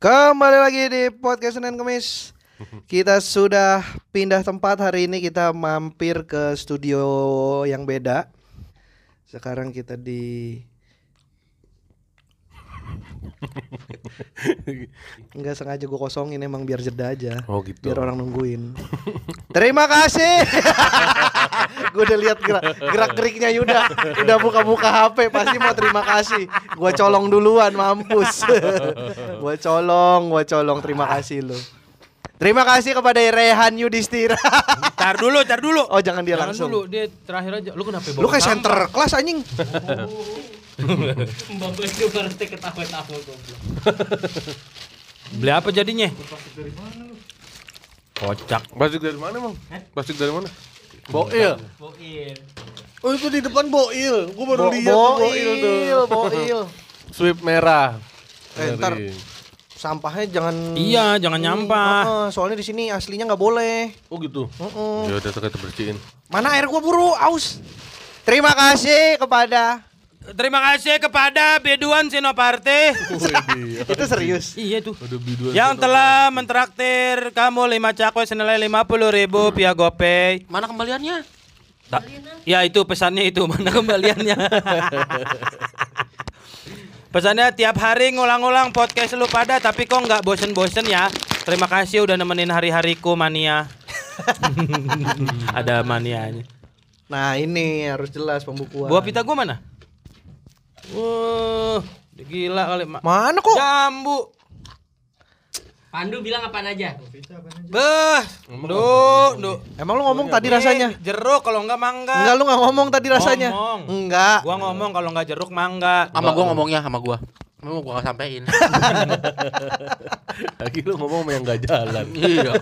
Kembali lagi di podcast Senin Kemis. Kita sudah pindah tempat hari ini kita mampir ke studio yang beda. Sekarang kita di Enggak sengaja gue kosongin emang biar jeda aja. Oh, gitu. Biar orang nungguin. Terima kasih. gue udah lihat gerak, gerak geriknya Yuda. Udah buka-buka HP pasti mau terima kasih. Gue colong duluan mampus. gue colong, gue colong terima kasih lu. Terima kasih kepada Rehan Yudhistira. Tar dulu, tar dulu. oh jangan dia Jangan langsung. dulu, dia terakhir aja. Lu kenapa bawa Lu kayak sampah? center kelas anjing. Mbak gue itu berarti ketawa-tawa goblok. Beli apa jadinya? Kocak. Plastik dari mana, Bang? Plastik dari mana? Boil. Boin. Oh, itu di depan boil. Gua Bo- boil, boil. Sweep merah. Eh, Iya, ntar. Ngeri. Sampahnya jangan Iya, jangan nyampah. Heeh, soalnya di sini aslinya nggak boleh. Oh, gitu. Heeh. Ya udah kita bersihin. Mana air gua buru, aus. Terima kasih kepada Terima kasih kepada Beduan Sinoparte itu serius. Iya tuh. Udah biduan. Yang telah mentraktir kamu 5 cakwe senilai 50 ribu via GoPay. Mana kembaliannya? Ta- ya itu pesannya itu mana kembaliannya. pesannya tiap hari ngulang-ulang podcast lu pada tapi kok nggak bosen-bosen ya. Terima kasih udah nemenin hari-hariku mania. Ada manianya. Nah, ini harus jelas pembukuan. Buah pita gua mana? Wah, dia gila kali mak. Mana kok? Jambu. Pandu bilang apaan aja? Beh, duh, duh. Emang lu ngomong tadi rasanya? Eh, jeruk kalau enggak mangga. Enggak, lu nggak ngomong tadi rasanya. Ngomong. Enggak. Gua ngomong kalau enggak jeruk mangga. Sama gua ngomongnya sama gua. Mau gua gak sampein. Lagi lu ngomong sama yang gak jalan. iya.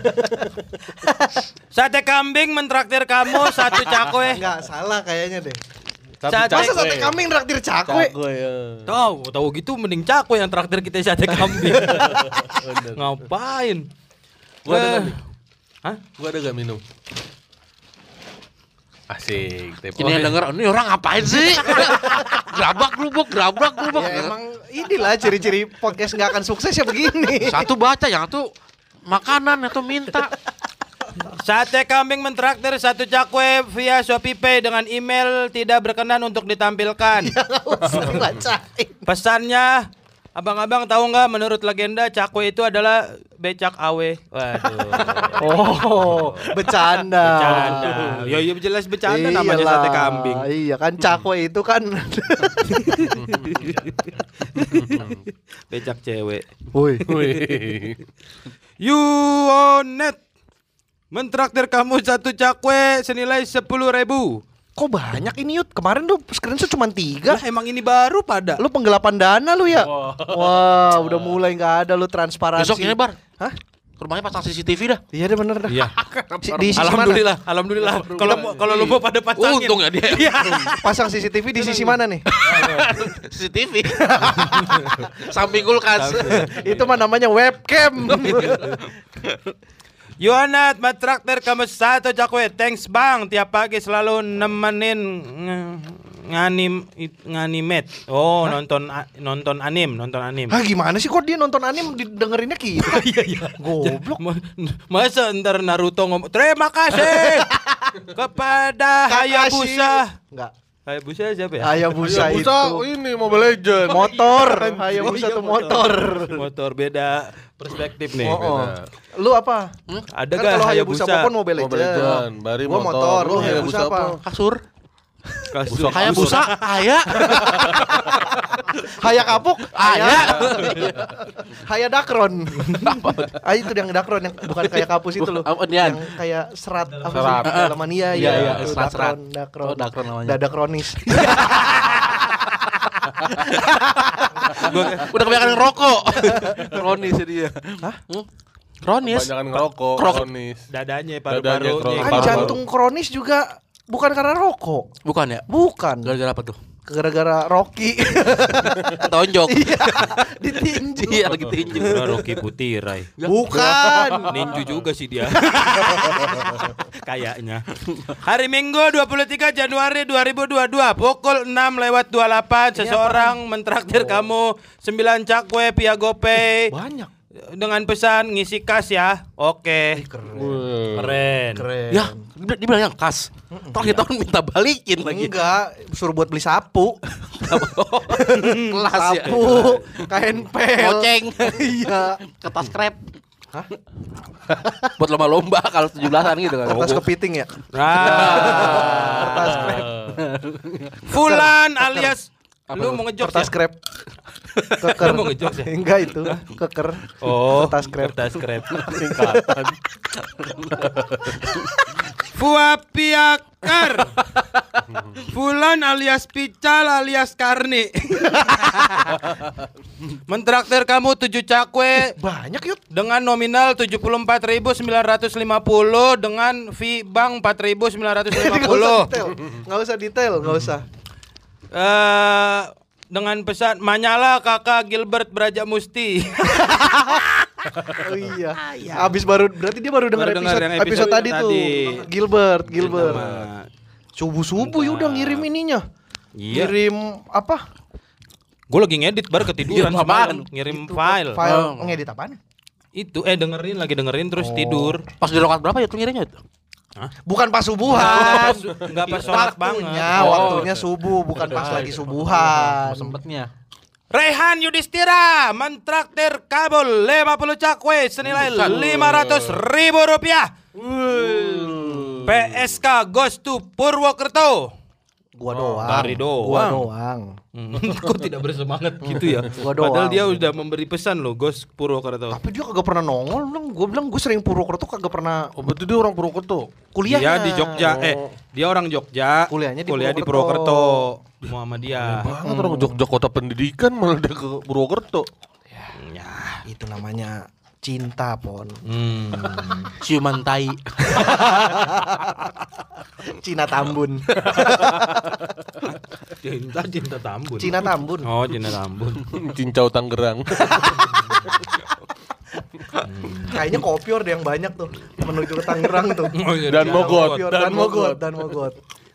Sate kambing mentraktir kamu satu cakwe. Eh, Enggak, salah kayaknya deh. Sate- Masa Cakwe. sate kambing traktir Eh, ya. cakwe? ya. Tahu, tahu gitu mending cakwe yang traktir kita sate kambing. Bener. Ngapain? Gua ada Eh, kambing. Hah? Gua ada gak minum? Asik. Oh, iya. Tepo. Ini yang denger, ini orang ngapain sih? gerabak lubuk, gerabak Gitu. lubuk. Ya emang inilah ciri-ciri podcast nggak akan sukses ya begini. Satu baca, yang satu makanan, yang satu minta. Sate kambing mentraktir satu cakwe via Shopee Pay dengan email tidak berkenan untuk ditampilkan. Iya. Usah bacain. Pesannya Abang-abang tahu nggak menurut legenda cakwe itu adalah becak awe. Waduh. Oh, bercanda. Bercanda. Ya iya jelas bercanda namanya Iyalah. sate kambing. Iya kan cakwe itu kan. Becak cewek. Woi. Wih. Yuonet mentraktir kamu satu cakwe senilai sepuluh ribu. Kok banyak ini Yud? Kemarin lu screenshot cuma tiga Lah emang ini baru pada. Lu penggelapan dana lu ya? Wah udah mulai nggak ada lu transparansi Besok ini bar, Hah? rumahnya pasang CCTV dah. Iya deh bener dah Iya. Si- Di sisi mana? Alhamdulillah, alhamdulillah. Kalau mau- kalau lu mau pada pasangin. Untung ya dia. Iya. Pasang CCTV di sisi mana nih? CCTV. Samping kulkas. itu mah namanya webcam Yohanet mentraktir kamu satu cakwe. Thanks Bang, tiap pagi selalu nemenin nge- nganim it- nganimet. Oh, nonton a- nonton anim, nonton anim. Hah gimana sih kok dia nonton anime didengerinnya kita? Iya iya Goblok Ma- Masa ntar Naruto ngomong Terima kasih Kepada Hayabusa Enggak Hayabusa siapa ya? Hayabusa itu Busa Nah, ini Mobile Legend. Motor Oh, Hayabusa iya, itu motor Motor beda perspektif nih Oh, oh. Lu apa? Ada Kan gak kalau Hayabusa Hayabusa Popon Mobile Mobile Legend. Legend. Bari Gua motor. motor, lu Lu Hayabusa Hayabusa apa? apa? Kasur. Kasur. Hayabusa, haya. Haya kapuk, Haya. Haya dakron. ah itu yang dakron yang bukan kayak kapus gitu itu loh. Apa dia? Yang kayak serat apa sih? Serat. Dalamania Iya, iya, itu serat-serat. dakron, dakron. Oh, dakron namanya. Iya, Dada kronis. Udah kebanyakan ngerokok. Kronis dia. Hah? Hmm? Kronis. Kebanyakan ngerokok, Krok. kronis. Dadanya Dadanya, iya, paru-parunya kerongkongan. kan Paru-paru. jantung kronis juga bukan karena rokok. Bukan ya? Bukan. Gara-gara apa tuh? gara-gara Rocky Tonjok. Iya, ditinju. Iya lagi tinju. Nah, Rocky Putih Rai. Ya, Bukan. Ninju juga sih dia. Kayaknya. Hari Minggu 23 Januari 2022 pukul 6 lewat 28 Oh. seseorang mentraktir kamu 9 cakwe via GoPay Banyak. dengan pesan ngisi kas ya. Oke. Keren. Keren. Ya, dia dia bilang yang kas. Terakhir tahun minta balikin Iya. lagi. Enggak, suruh buat beli sapu. Kelas ya. sapu, kain pel. Goceng. iya. Kertas krep. Hah? Buat lomba-lomba kalau 17-an gitu kan. Kertas kepiting ya. Ah. Nah. Kertas krep. Fulan alias lu mau ngejok Kertas ya? krep. Keker. Lu mau ngejokes ya? Enggak itu, keker. Oh, Kertas krep. Kertas krep. Singkatan. Fuapiakar. Fulan alias Pical alias Karni. Mentraktir kamu 7 cakwe Banyak yuk. dengan nominal 74.950 dengan fee bank Nggak 4.950. usah detail. Nggak usah detail, nggak usah. Eh dengan pesan Manyala kakak Gilbert Beraja Musti. Oh iya. Abis baru berarti dia baru dengar Baru dengar episode, yang episode, episode tadi, tuh. tadi. Gilbert, Gilbert. Nama- Subuh-subuh ya udah ngirim ininya. Iya. Ngirim apa? Gue lagi ngedit baru ketiduran Ngirim apaan? semalam ngirim Itu, file. File Oh. ngedit apaan? Itu eh dengerin lagi dengerin terus tidur. Pas di rokat berapa ya tuh ngirimnya? Bukan pas Nggak subuhan. pas- nggak pas sholat banget. Oh. Waktunya, waktunya subuh, bukan pas lagi subuhan. Sempetnya. Rehan Yudhistira mentraktir kabel 50 cakwe senilai 500 ribu rupiah. PSK Ghost to Purwokerto. Gua doang. Dari Oh, doang. Gua doang. Hmm, Kok tidak bersemangat Hmm. gitu ya? Gua doang. Padahal dia udah memberi pesan loh Ghost Purwokerto. Tapi dia kagak pernah nongol, bilang gue bilang gue sering Purwokerto kagak pernah Oh, berarti dia orang Purwokerto. kuliah. ya? Dia di Jogja, Oh, eh dia orang Jogja. Kuliahnya di Purwokerto. Muhammadiyah. Banget orang Jogja kota pendidikan malah dia ke Purwokerto. Ya. Itu namanya cinta pon. Hmm. Ciuman tai. Cina Tambun. Cinta cinta Tambun. Cina Tambun. Oh, Cina Tambun. Cincau Tangerang. Kayaknya kopior deh yang banyak tuh menuju ke Tangerang tuh. Oh, iya, Dan Mogot. Kopior dan Mogot dan Mogot.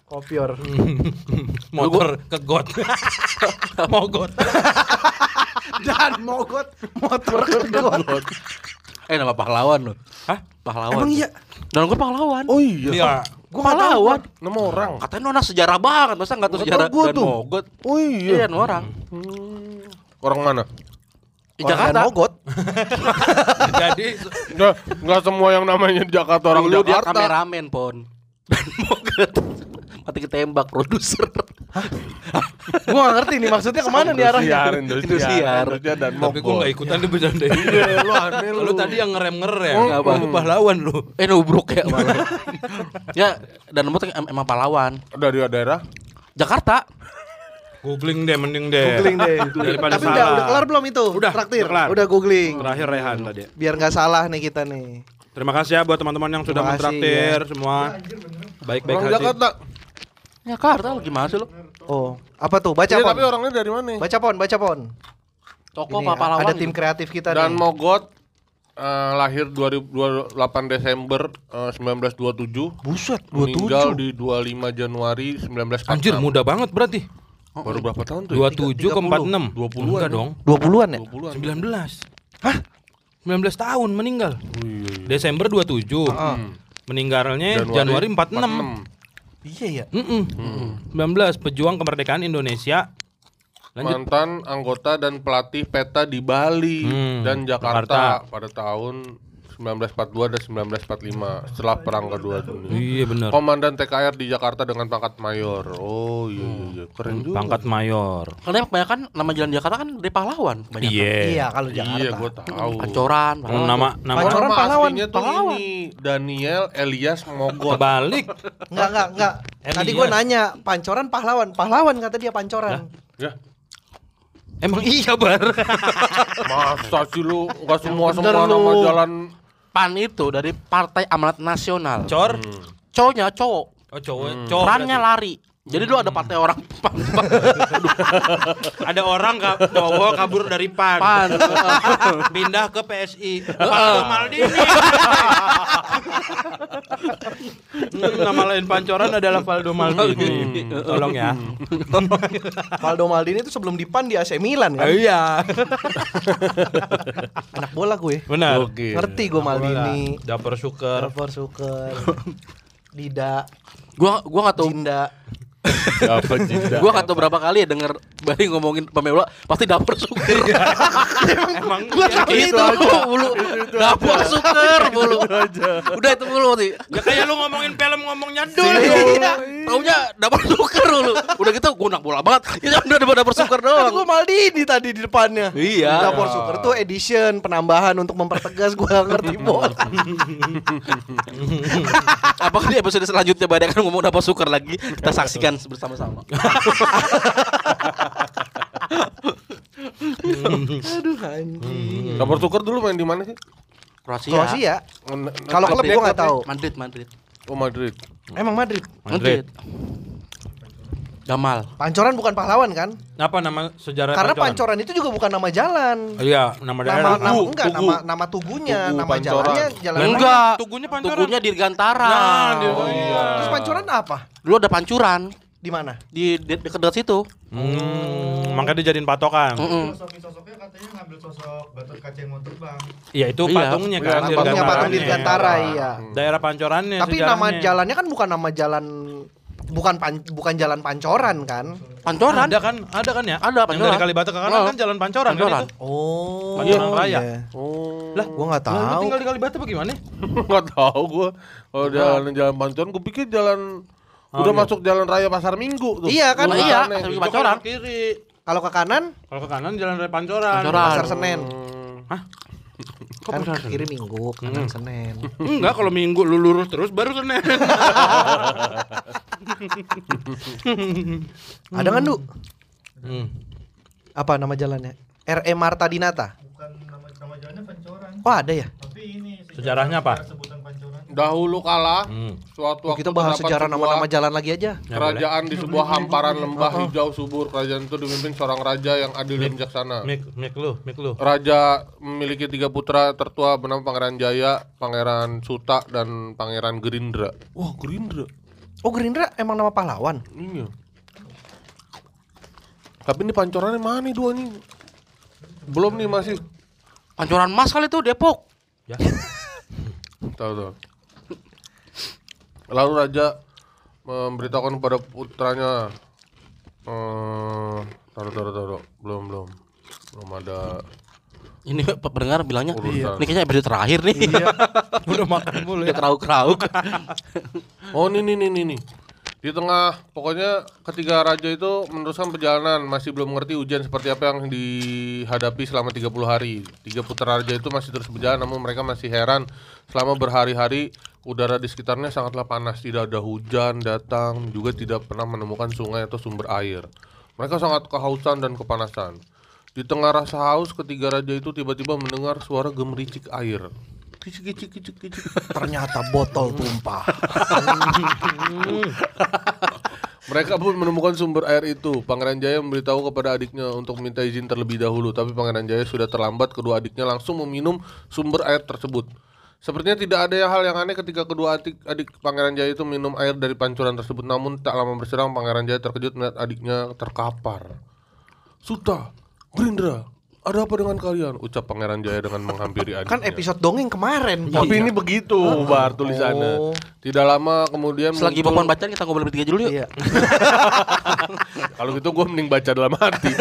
Kopior. Motor ke got. Mogot. Dan Mogot motor ke got. Eh nama pahlawan loh. Hah? Pahlawan. Emang iya? Dan gue pahlawan. Oh iya. Iya. Gua pahlawan. Nama orang. Katanya nona sejarah banget, masa nggak tahu Nggak sejarah tahu gua dan tuh. mogot. Oh Iya, iya. dan orang. Orang mana? Di Orang Jakarta. Dan Mogot. Jadi Nggak, nggak semua yang namanya di Jakarta orang Dulu dia Jakarta. kameramen, Pon. Dan mogot. Mati ketembak produser. Gua gak ngerti nih maksudnya kemana nih Iya. arahnya. Indosiar, Indosiar, Indosiar. Indosiar dan tapi gua Mogot. enggak ikutan di bercanda. Iya, lu aneh Lu tadi yang ngerem-ngerem. Oh, Nggak apa. Lu pahlawan lu. eh nubruk ya malah. ya, dan mogot em- emang pahlawan. dari daerah Jakarta. Googling deh mending deh. Googling deh. Daripada Tapi udah, salah. udah kelar belum itu? Udah, Traktir. udah kelar. Udah googling. Terakhir Rehan tadi. Biar nggak salah nih kita nih. Terima kasih ya buat teman-teman yang sudah Terima kasih, ya. mentraktir semua. Baik-baik orang hati. Jakarta. Jakarta lu gimana sih lu? Oh, apa tuh? Baca Iya, pon. tapi orangnya dari mana? Baca pon, baca pon. Toko Ini, apa pahlawan? gitu. Ada tim kreatif kita Dan nih. Mogot eh, lahir 2028 Desember eh, 1927. Buset, Meninggal di 25 Januari 1946. Anjir, muda banget berarti. Baru berapa tahun tuh? 27 ke 46. 20-an. Enggak dong. 20-an ya? 20-an. 19. Hah? 19 tahun meninggal. Iya, Desember 27. Meninggalnya Januari, 46. Iya ya. Mm-mm. 19 pejuang kemerdekaan Indonesia. Lanjut. Mantan anggota dan pelatih PETA di Bali Hmm, dan Jakarta, pada tahun 1942 dan 1945 setelah perang kedua dunia. Iya benar. Komandan TKR di Jakarta dengan pangkat mayor. Oh iya iya, iya. keren juga. Pangkat mayor. Karena kebanyakan nama jalan Jakarta kan dari pahlawan kebanyakan. kan Iya, Iya. kalau Jakarta. Iya, gua tahu. Pancoran, Oh, Nama nama Pancoran. Nama pahlawan, aslinya tuh pahlawan. ini Daniel Elias Mogot. kebalik. Enggak, enggak, enggak. Elias. Tadi gua nanya, pancoran pahlawan. Pahlawan kata dia pancoran. ya. Emang iya bar. Masa sih lu enggak semua bener semua nama lu. jalan PAN itu dari Partai Amanat Nasional. Cor. Cowoknya cowok, Oh cowok. perannya lah. lari. Jadi lu ada partai orang pan. pan. Ada orang ka, cowok kabur dari PAN. pan. Pindah ke PSI. Pak Maldini. Hmm, Nama lain pancoran adalah Valdo Maldini. Tolong ya. Valdo Maldini itu sebelum di PAN di AC Milan kan. iya. Anak bola gue. Benar. Oke. Ngerti gue Maldini. Dapur Suker. Dapur Suker. Dida, gua gua enggak tahu Jinda. Apa cinta? gua enggak tahu berapa kali ya denger Bari ngomongin pemela pasti dapur suker. Emang gua iya. tahu itu mulu. Dapur suker mulu. Udah itu mulu sih. Ya kayak lu ngomongin film ngomongnya dul. Iya. Taunya dapur suker mulu. Udah gitu gua nak bola banget. Ya udah dapur dapur suker Kan gue doang. Maldini tadi di depannya. Iya. Dapur Suker tuh edition penambahan untuk mempertegas gue ngerti bola. Apakah di episode selanjutnya Bari akan ngomong dapur suker lagi? Kita saksikan bersama-sama. Aduh anjing. Hmm. Dapur tuker dulu main di mana sih? Kroasia. Kroasia. N- n- Kalau klub gue nggak tahu. Madrid, Madrid. Oh Madrid. Emang Madrid. Madrid. Gamal. Pancoran bukan pahlawan kan? Apa nama sejarah Karena pancoran itu juga bukan nama jalan. Iya, nama Nama, daerah. nama Tugu, enggak, Tugu. nama nama tugunya, Tugu nama Pancoran. jalannya jalan lain. Enggak. Tugunya Pancoran. Tugunya Dirgantara. Nah, Dirgantara. Terus pancoran apa? Dulu ada pancuran Di mana? di de- dekat-dekat situ. Hmm, makanya dijadiin patokan. Mm-mm. Sosok-sosoknya katanya ngambil sosok Gatot Kaca yang mau terbang. Ya itu Iya. patungnya kan. Iya, Patungnya Dirgantarannya. patung Dirgantara iya. Daerah pancorannya Tapi Iya, sejarahnya. nama jalannya kan bukan nama jalan bukan pan- bukan jalan pancoran kan? Pancoran. ada kan, ada kan ya? Ada, Yang dari Pancoran. Kalibata ke kanan Oh. kan jalan pancoran, Pancoran. kan itu. Oh. Pancoran raya. iya. Oh. Lah, gua nggak Lah, lu tahu. tinggal di Kalibata apa gimana? Nggak tahu gua. Kalau jalan jalan Pancoran gua pikir jalan udah masuk jalan raya Pasar Minggu tuh. Oh, Iya kan? Gua Iya, aneh. Pasar Minggu. Itu kan Pancoran. kiri. Kalau ke kanan Kalau ke kanan jalan dari pancoran. Pancoran. Pasar Senen. Hmm. Hah? kan ke kiri Minggu, kanan Senin. Enggak, kalau minggu lu lurus terus baru Senen. Ada kan, Du? Hmm. Apa nama jalannya? R.E. Marta Dinata. Bukan nama, nama jalannya Pancoran. Oh, ada ya? Tapi ini Sejarahnya apa? sebutan Pancoran. Dahulu kala Hmm. Oh, suatu waktu kita bahas terdapat sejarah sebuah nama-nama jalan lagi aja. Ya, kerajaan di sebuah hamparan Oh, lembah hijau subur. Kerajaan itu dipimpin seorang raja yang adil dan bijaksana. Mik, mik lu, mik lu. Raja memiliki tiga putra tertua bernama Pangeran Jaya, Pangeran Suta, dan Pangeran Gerindra. Wah Gerindra, Oh, Gerindra emang nama pahlawan. iya. Tapi ini pancorannya mana nih dua nih? Belum nih masih. Pancoran Mas kali itu Depok. Ya. Tahu tahu. Lalu Raja memberitahukan kepada putranya. Eh, taruh taruh taruh, belum belum belum ada Ini pe- pendengar bilangnya, Urusan. ini kayaknya episode terakhir nih. Iya, Udah makan mulu Udah kerauk-kerauk. Oh ini nih nih nih nih. Di tengah pokoknya ketiga raja itu meneruskan perjalanan masih belum mengerti ujian seperti apa yang dihadapi selama 30 hari. Tiga putra raja itu masih terus berjalan namun mereka masih heran selama berhari-hari udara di sekitarnya sangatlah panas, tidak ada hujan datang, juga tidak pernah menemukan sungai atau sumber air. Mereka sangat kehausan dan kepanasan. Di tengah rasa haus ketiga raja itu tiba-tiba mendengar suara gemericik air. Kicik kicik kicik kicik. Ternyata botol tumpah. Mereka pun menemukan sumber air itu. Pangeran Jaya memberitahu kepada adiknya untuk minta izin terlebih dahulu, tapi Pangeran Jaya sudah terlambat. Kedua adiknya langsung meminum sumber air tersebut. Sepertinya tidak ada yang- hal yang aneh ketika kedua adik, adik Pangeran Jaya itu minum air dari pancuran tersebut. Namun tak lama berserang Pangeran Jaya terkejut melihat adiknya terkapar. Suta, Gerindra, ada apa dengan kalian? Ucap Pangeran Jaya dengan menghampiri adiknya. Kan episode dongeng kemarin. Pon. Tapi ini begitu, Oh. Bar tulisannya. Oh. Tidak lama kemudian Selagi muncul- Bapak bacaan kita ngobrol bertiga dulu yuk. Iya. Kalau gitu gue mending baca dalam hati.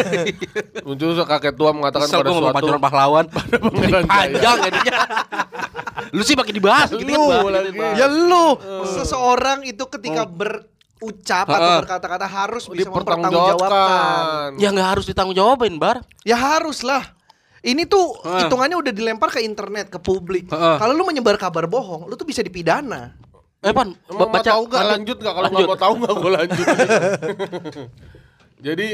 Muncul se- kakek tua mengatakan Kesel pada gua ngomong suatu pancoran pahlawan. pangeran jaya. Panjang jadinya. Lu sih makin dibahas gitu Lu lagi. Ya lu, seseorang itu ketika berucap atau Ha-ha. berkata-kata harus bisa mempertanggungjawabkan. Oh, dipertanggungjawabkan. Ya nggak harus ditanggung jawabin, Bar. Ya haruslah. Ini tuh Ha. hitungannya udah dilempar ke internet, ke publik. Ha-ha. Kalau lu menyebar kabar bohong, lu tuh bisa dipidana. Eh, Pan, Emang mau baca tahu nggak lanjut nggak kalau nggak mau tahu nggak gue lanjut. Jadi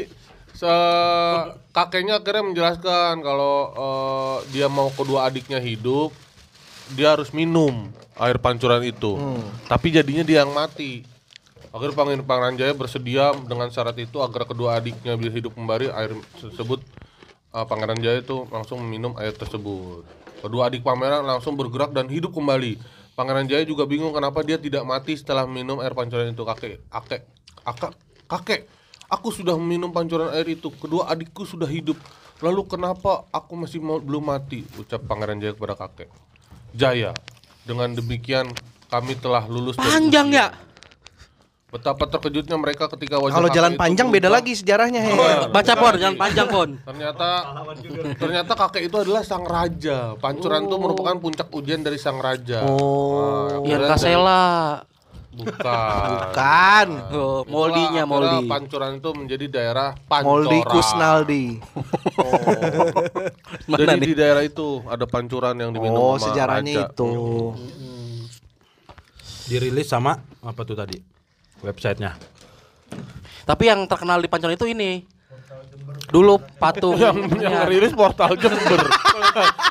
se- kakeknya akhirnya menjelaskan kalau eh, dia mau kedua adiknya hidup, Hmm. dia harus minum air pancuran itu. Tapi jadinya dia yang mati. Akhirnya Pangeran Ranjaya bersedia dengan syarat itu agar kedua adiknya bisa hidup kembali air tersebut eh, Pangeran Jaya itu langsung meminum air tersebut. Kedua adik Pangeran langsung bergerak dan hidup kembali. Pangeran Jaya juga bingung kenapa dia tidak mati setelah minum air pancuran itu kakek. Kakek, kakek, kakek. Aku sudah minum pancuran air itu. Kedua adikku sudah hidup. Lalu kenapa aku masih mau, belum mati? Ucap Pangeran Jaya kepada kakek. Jaya, dengan demikian kami telah lulus dari Panjang ujian. ya? Betapa terkejutnya mereka ketika wajah Kalau kakek jalan itu panjang beda berubah. lagi sejarahnya he. Oh, Baca beda pon, lagi. jangan panjang pon. Ternyata ternyata kakek itu adalah sang raja. Pancuran itu merupakan puncak ujian dari sang raja. Oh. Nah, Biar akhirnya dari- kasela. Bukan. Bukan. Oh, Kan. Itulah moldinya akhirnya moldi. Pancuran itu menjadi daerah Pancora. Moldi Kusnaldi. Mana Jadi nih? di daerah itu ada pancuran yang diminum Oh, sama sejarahnya raja. itu. Dirilis sama apa tuh tadi? Websitenya. Tapi yang terkenal di Pancoran itu ini. Dulu patung. Yang, yang Iya. rilis portal Jember.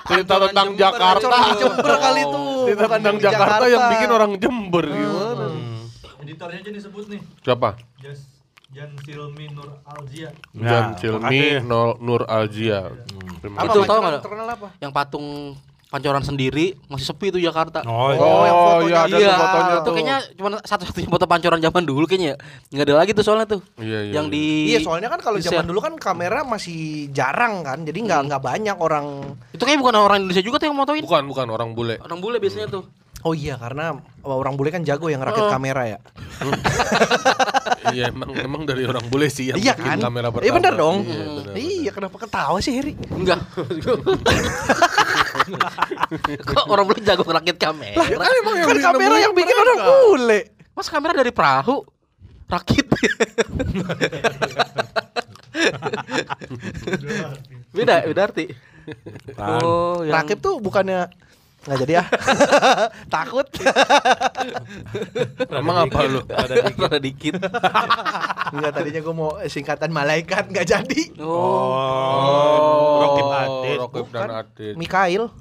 Cerita tentang Jakarta. Pancoran Jember kali itu, Cerita bukan tentang di Jakarta, Jakarta. Hmm. yang bikin orang Jember gimana? Editornya aja disebut nih. Siapa? Jas Jan Silmi Nur Alzia. Ya, Jan Cilmi makasih. Hmm. Nol- Nur Aljia. Terima Apa Itu kasih. tahu pancoran nggak? terkenal apa? yang patung Pancoran sendiri masih sepi itu Jakarta. Oh, iya. Oh, yang fotonya iya ada dia. tuh fotonya Itu tuh. kayaknya cuma satu-satunya foto Pancoran zaman dulu kayaknya. Enggak ada lagi tuh soalnya tuh. Iya, iya, yang iya. di Iya, soalnya kan kalau di zaman share. dulu kan kamera masih jarang kan. Jadi nggak nggak banyak orang Itu kayaknya bukan orang Indonesia juga tuh yang motoin. Bukan, bukan orang bule. Orang bule biasanya tuh. Oh iya, karena orang bule kan jago yang rakit kamera ya. iya, emang emang dari orang bule sih yang iya bikin kan? kamera pertama. Iya benar dong. Iya, Iya, benar, kenapa ketawa sih Heri? Enggak. Kok orang bule jago ngerakit kamera? kan kamera yang bikin orang bule. kan. Mas kamera dari perahu. Rakit. beda, beda arti. Oh, yang Rakit tuh bukannya nggak jadi ah. Takut. benar. Emang apa lu? ada dikit. ada dikit. Enggak tadinya gue mau singkatan malaikat nggak jadi. Oh. Oh, Rokib Adit. Rokib dan Adit. Mikail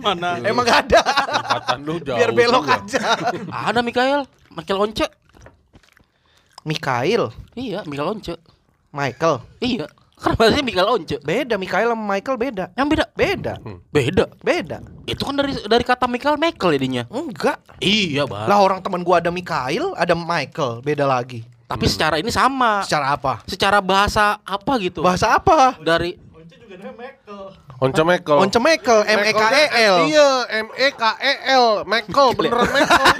Mana? emang gak ada. Tingkatan lu jauh. ya. Biar belok juga. aja. Ada Mikael, Michael Once. Mikail, Iya, Michael Once. Michael. Iya. Kenapa sih Michael Once? Beda Mikail sama Michael beda. Yang beda. Beda. Beda. Beda. Itu kan dari dari kata Michael Michael jadinya. Enggak. Iya, Bang. Lah orang teman gua ada Mikail, ada Michael, beda lagi. Tapi secara ini Hmm. sama. Secara apa? Secara bahasa apa gitu? Bahasa apa? dari Once juga namanya Michael. Once Michael. Once Michael, M E K E L. Iya, M E K E L. Michael, beneran Michael.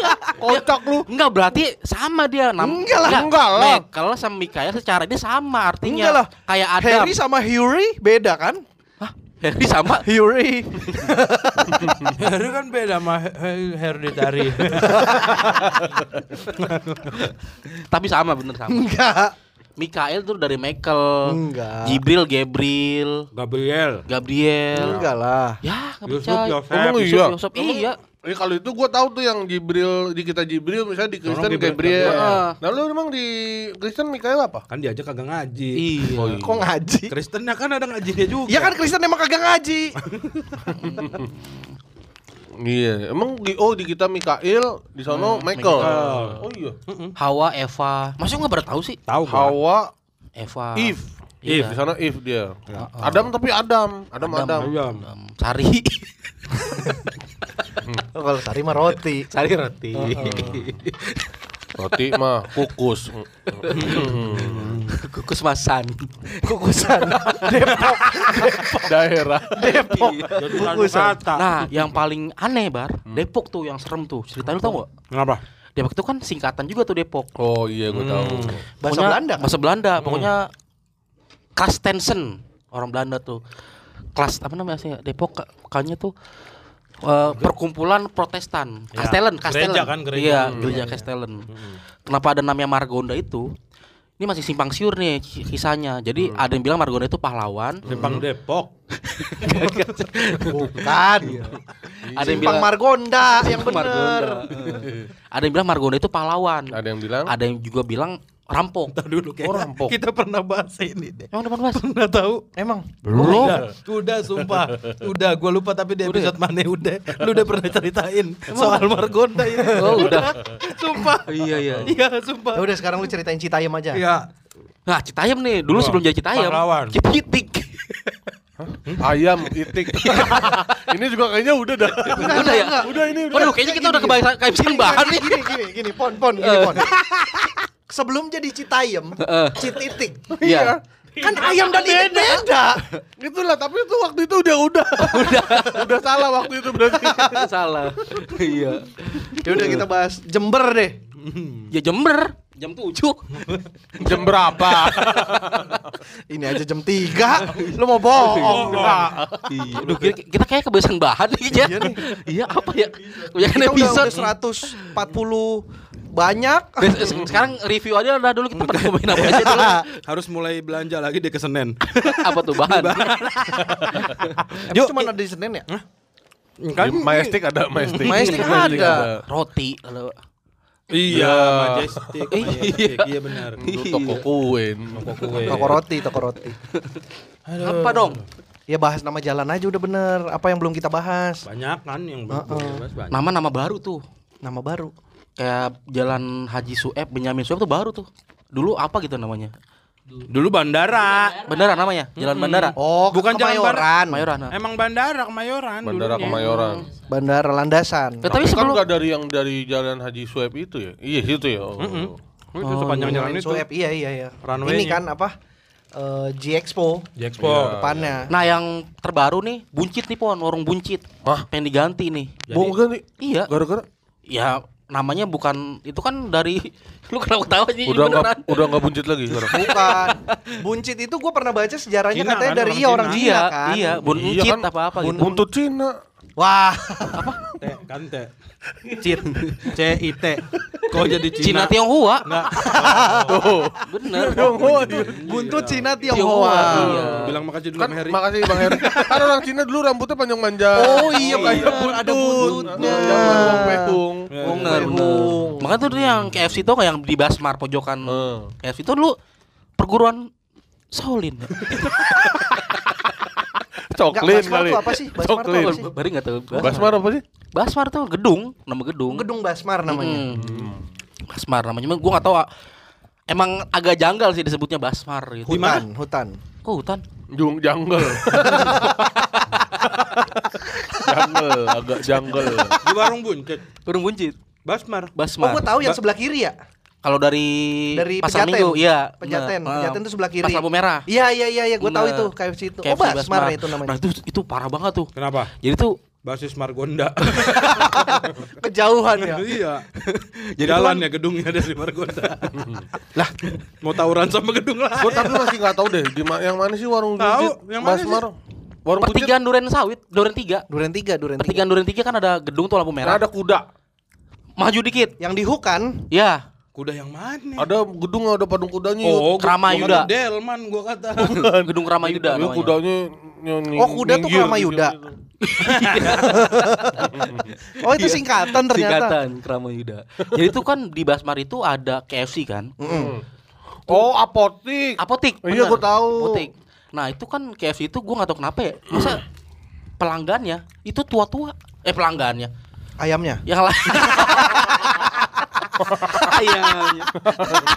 Iya. Kocak lu. Enggak berarti sama dia nam Ya, Enggak lah, enggak lah. Michael sama Mikael secara ini sama artinya. Enggak lah. Kayak Adam. Harry sama Huri beda kan? Hah? Harry sama Huri. Harry kan beda sama Harry dari. tapi sama bener Hmm. sama. Enggak. Mikael tuh dari Michael. Enggak. Jibril, Gabriel, Gabriel. Gabriel. Enggak lah. Ya, nggak Yusuf, percaya. Yosef. Nah, Emang Yusuf, iya. Yosef, Emang- iya. Eh, kalau itu gua tahu tuh yang Jibril di kita Jibril misalnya di Kristen Gabriel. Gabriel. Heeh. Nah, lu emang di Kristen Mikael apa? Kan diajak kagak ngaji. Iya. Oh, iya. Kok ngaji? Kristennya kan ada ngajinya juga. Ya kan Kristen emang kagak ngaji. Iya, emang di oh di kita Mikael, di sono Michael. Oh iya. Hawa, Eva. Masih nggak pernah tahu sih? Tahu gua. Hawa, Eva. Eve. Iya. Eve di sana Eve dia. Adam tapi Adam, Adam Adam. Ayam. Um, Sari. Oh, Kalau Sari mah roti. Sari roti. Roti mah kukus. Kukus masan. Kukusan. Depok. Daerah. Depok. Jadi satu kata. Nah, yang paling aneh bar, Depok tuh yang serem tuh. Ceritanya lu tau gak? Kenapa? Depok itu kan singkatan juga tuh Depok. Oh iya gue tahu. Bahasa Pokoknya- Belanda. Bahasa Belanda. Pokoknya Kastensen orang Belanda tuh. Kelas apa namanya sih? Depok ka- kayaknya tuh eh, perkumpulan Protestan. Ya, Kastelen, Kastelen. gereja kan, gereja. Iya, Hmm. gereja Kastelen. Kenapa ada namanya Margonda itu? Ini masih simpang siur nih ki- kisahnya. Jadi ada yang bilang Margonda itu pahlawan. Simpang Depok. Bukan. Ada Simpang yang bilang Margonda yang bener. Margonda. Ada yang bilang Margonda itu pahlawan. Ada yang bilang Ada yang juga bilang rampok. Tahu dulu kayak Oh, rampok. kita pernah bahas ini deh. Emang depan bahas? Pernah tahu? Emang Belum. Udah, udah sumpah. Udah, gua lupa tapi di episode mana udah. Lu udah pernah ceritain soal Margonda ini. Oh, udah. sumpah. Iya, iya. Iya, sumpah. Ya udah sekarang lu ceritain Citayam aja. Iya. Nah, Citayam nih, Wah, dulu sebelum jadi Citayam, pahlawan. kita itik. Ayam itik. ini juga kayaknya udah dah. Udah, ya? Udah ini udah. Waduh, kayaknya Iya. kita udah kebahasan kehabisan bahan Gini, nih. gini, gini, gini, pon, pon, gini, pon. Sebelum jadi Citayam, Heeh. Cititik. Iya. Kan ayam dan itik beda. Itulah, tapi itu waktu itu udah udah. udah. udah salah waktu itu berarti. Salah. Iya. Ya udah kita bahas Jember deh. Ya Jember, jam 7. Jam berapa? Ini aja jam 3. Lu mau bohong. Iya. Aduh, kita, kita kayak kebahasan bahan nih, ya. Iya, apa ya? Kebanyakan Kita udah, episode. udah 140 banyak. Bes- eh, Sekarang review aja udah dulu kita pernah ngomongin apa aja dulu. Harus mulai belanja lagi deh ke Senen. apa tuh bahan? Emang cuma ada di Senin ya? Kan majestic ada majestic. Majestic ada. Roti kalau Iya, Iya. majestic, majestic. Iya benar. Itu toko kuen. Iya, Toko roti, toko roti. apa dong? Ya bahas nama jalan aja udah bener. Apa yang belum kita bahas? Banyak kan yang bebas banyak. Nama-nama baru tuh. Nama baru. Kayak Jalan Haji Sueb, Benyamin Sueb tuh baru tuh. Dulu apa gitu namanya? Dulu bandara. Bandara namanya, Jalan Bandara. Oh, Bukan bukan jangan Kemayoran. Mayoran. ah. Emang bandara Kemayoran Bandara dulunya. Kemayoran. Bandara Landasan. Ya, tapi Kan sebelum nggak dari yang dari jalan Haji Sueb itu ya? Iya itu ya. Oh. Itu sepanjang jalan itu. Soeb, iya iya iya. Runway-nya. Iya. Ini kan apa? Eh, G Expo Jexpo. depannya. Nah yang terbaru nih Buncit nih pon Warung buncit Hah? Ya. Pengen diganti nih Mau ganti? Iya Gara-gara Ya namanya bukan Itu kan dari Lu kenapa ketawa sih udah nggak beneran udah nggak buncit lagi sekarang. Bukan. Buncit itu gue pernah baca sejarahnya Cina katanya kan, dari orang iya orang Cina, Iya kan. Iya Buncit Iya kan, apa-apa gitu Buntut Cina. Wah, Te, kan te. Cit. C I T. Kok jadi Cina? Cina Tionghoa Enggak. Oh, Bener buntut Cina Tionghoa. Tionghoa. Nah, Iya. Bilang makasih dulu Kan sama Heri. makasih Bang Heri. kan orang Cina dulu rambutnya panjang-panjang. Oh iya, Kayak bener, ada buntutnya. Zaman Wong Pekung. Iya, Bener bener Makanya tuh dia yang KFC itu yang di Basmar pojokan Eh. KFC itu dulu Perguruan Shaolin Coklin Basmar kali. tuh apa sih? Basmar tuh Coklin. apa sih? Bari gak tau Basmar apa sih? Basmar tuh gedung Nama gedung Gedung Basmar namanya. Mm. Basmar namanya, Cuman gua nggak tahu. ah. Emang agak janggal sih disebutnya Basmar gitu. Hutan, hutan. Kok hutan? Jung jungle. jungle, agak jungle. Di warung buncit. Burung buncit. Basmar. Oh, Basmar. gue tahu yang Ba- sebelah kiri ya. Kalau dari Dari Pejaten. pasar Minggu, iya. Pejaten. ah. Nah, Pejaten tuh sebelah kiri. Pas lampu merah. Nah, Iya, iya, iya, iya. Gue tahu Bener. itu KFC itu. KFC oh, Basmar itu namanya. Nah, itu itu parah banget tuh. Kenapa? Jadi tuh Basis Margonda. Kejauhan ya. iya. Jalan ya gedungnya dari Margonda. lah, mau tawuran sama gedung lah. Gue tapi masih nggak tahu deh, di ma- yang mana sih warung Tahu, buncit? yang mana Basmar. Warung buncit. pertigaan Duren Sawit, Duren 3. Duren tiga, Duren tiga. Pertigaan Duren 3 kan ada gedung tuh lampu merah. Ada kuda. Maju dikit. Yang di hook kan? Ya. Kuda yang mana? Ada gedung ada padung kudanya. Oh, bukan Kramayuda. Delman gua kata. Gedung Iya, Ramayuda namanya. kudanya nyonyi. Oh, kuda tuh gitu. Kramayuda. Hmm. Oh, itu singkatan ternyata. Iya. Singkatan Kramayuda. Jadi tuh kan di Basmar itu ada KFC kan? Hmm. Oh, apotik. apotik. Iya, bener. gua tahu. Apotik. Nah, itu kan KFC itu gua nggak tahu kenapa ya. Masa pelanggannya itu tua-tua. Eh pelanggannya. Ayamnya. Yang lain. Ayamnya.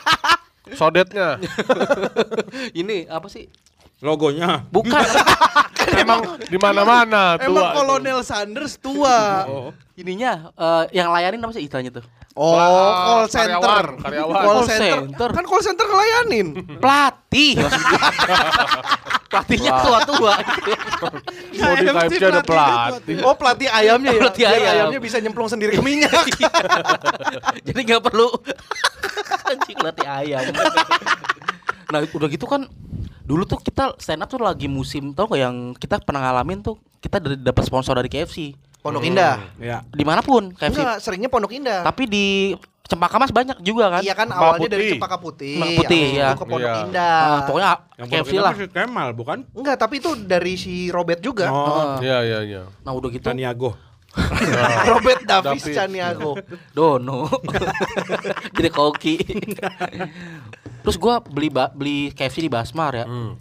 Sodetnya. Ini apa sih? Logonya. Bukan. Emang di mana-mana tua. Emang itu. Oh. Kolonel Sanders tua. Ininya eh, yang layanin apa sih istilahnya tuh? Oh, call center. karyawan, karyawan. Call Call center. center. Kan call center ngelayanin. Hmm. Pelatih. Pelatihnya tua-tua. gitu ya. Oh, di KFC ada pelatih. Oh, pelatih ayamnya ya. Pelatih Biar ayam. Iya. ayamnya bisa nyemplung sendiri ke minyak. Jadi nggak perlu anjing latih ayam. nah udah gitu kan dulu tuh kita stand up tuh lagi musim tau gak yang kita pernah ngalamin tuh kita dari dapat sponsor dari KFC Pondok Hmm. Indah. Ya. dimanapun Iya. KFC Enggak, seringnya Pondok Indah. tapi di Cempaka Mas banyak juga kan Iya kan Cempaka awalnya dari Putih. Cempaka Putih. Cempaka Putih, abis iya. itu ke Pondok Iya. Indah. Ah, pokoknya Yang KFC Pondok lah Indah kan si Kemal bukan? Enggak, tapi itu dari si Robert juga. Oh, Iya, iya, iya. nah Ah, udah gitu Taniago. Robert Davis Davis. Caniago. Dono. Jadi koki. Terus gua beli ba- beli KFC di Basmar ya. Hmm.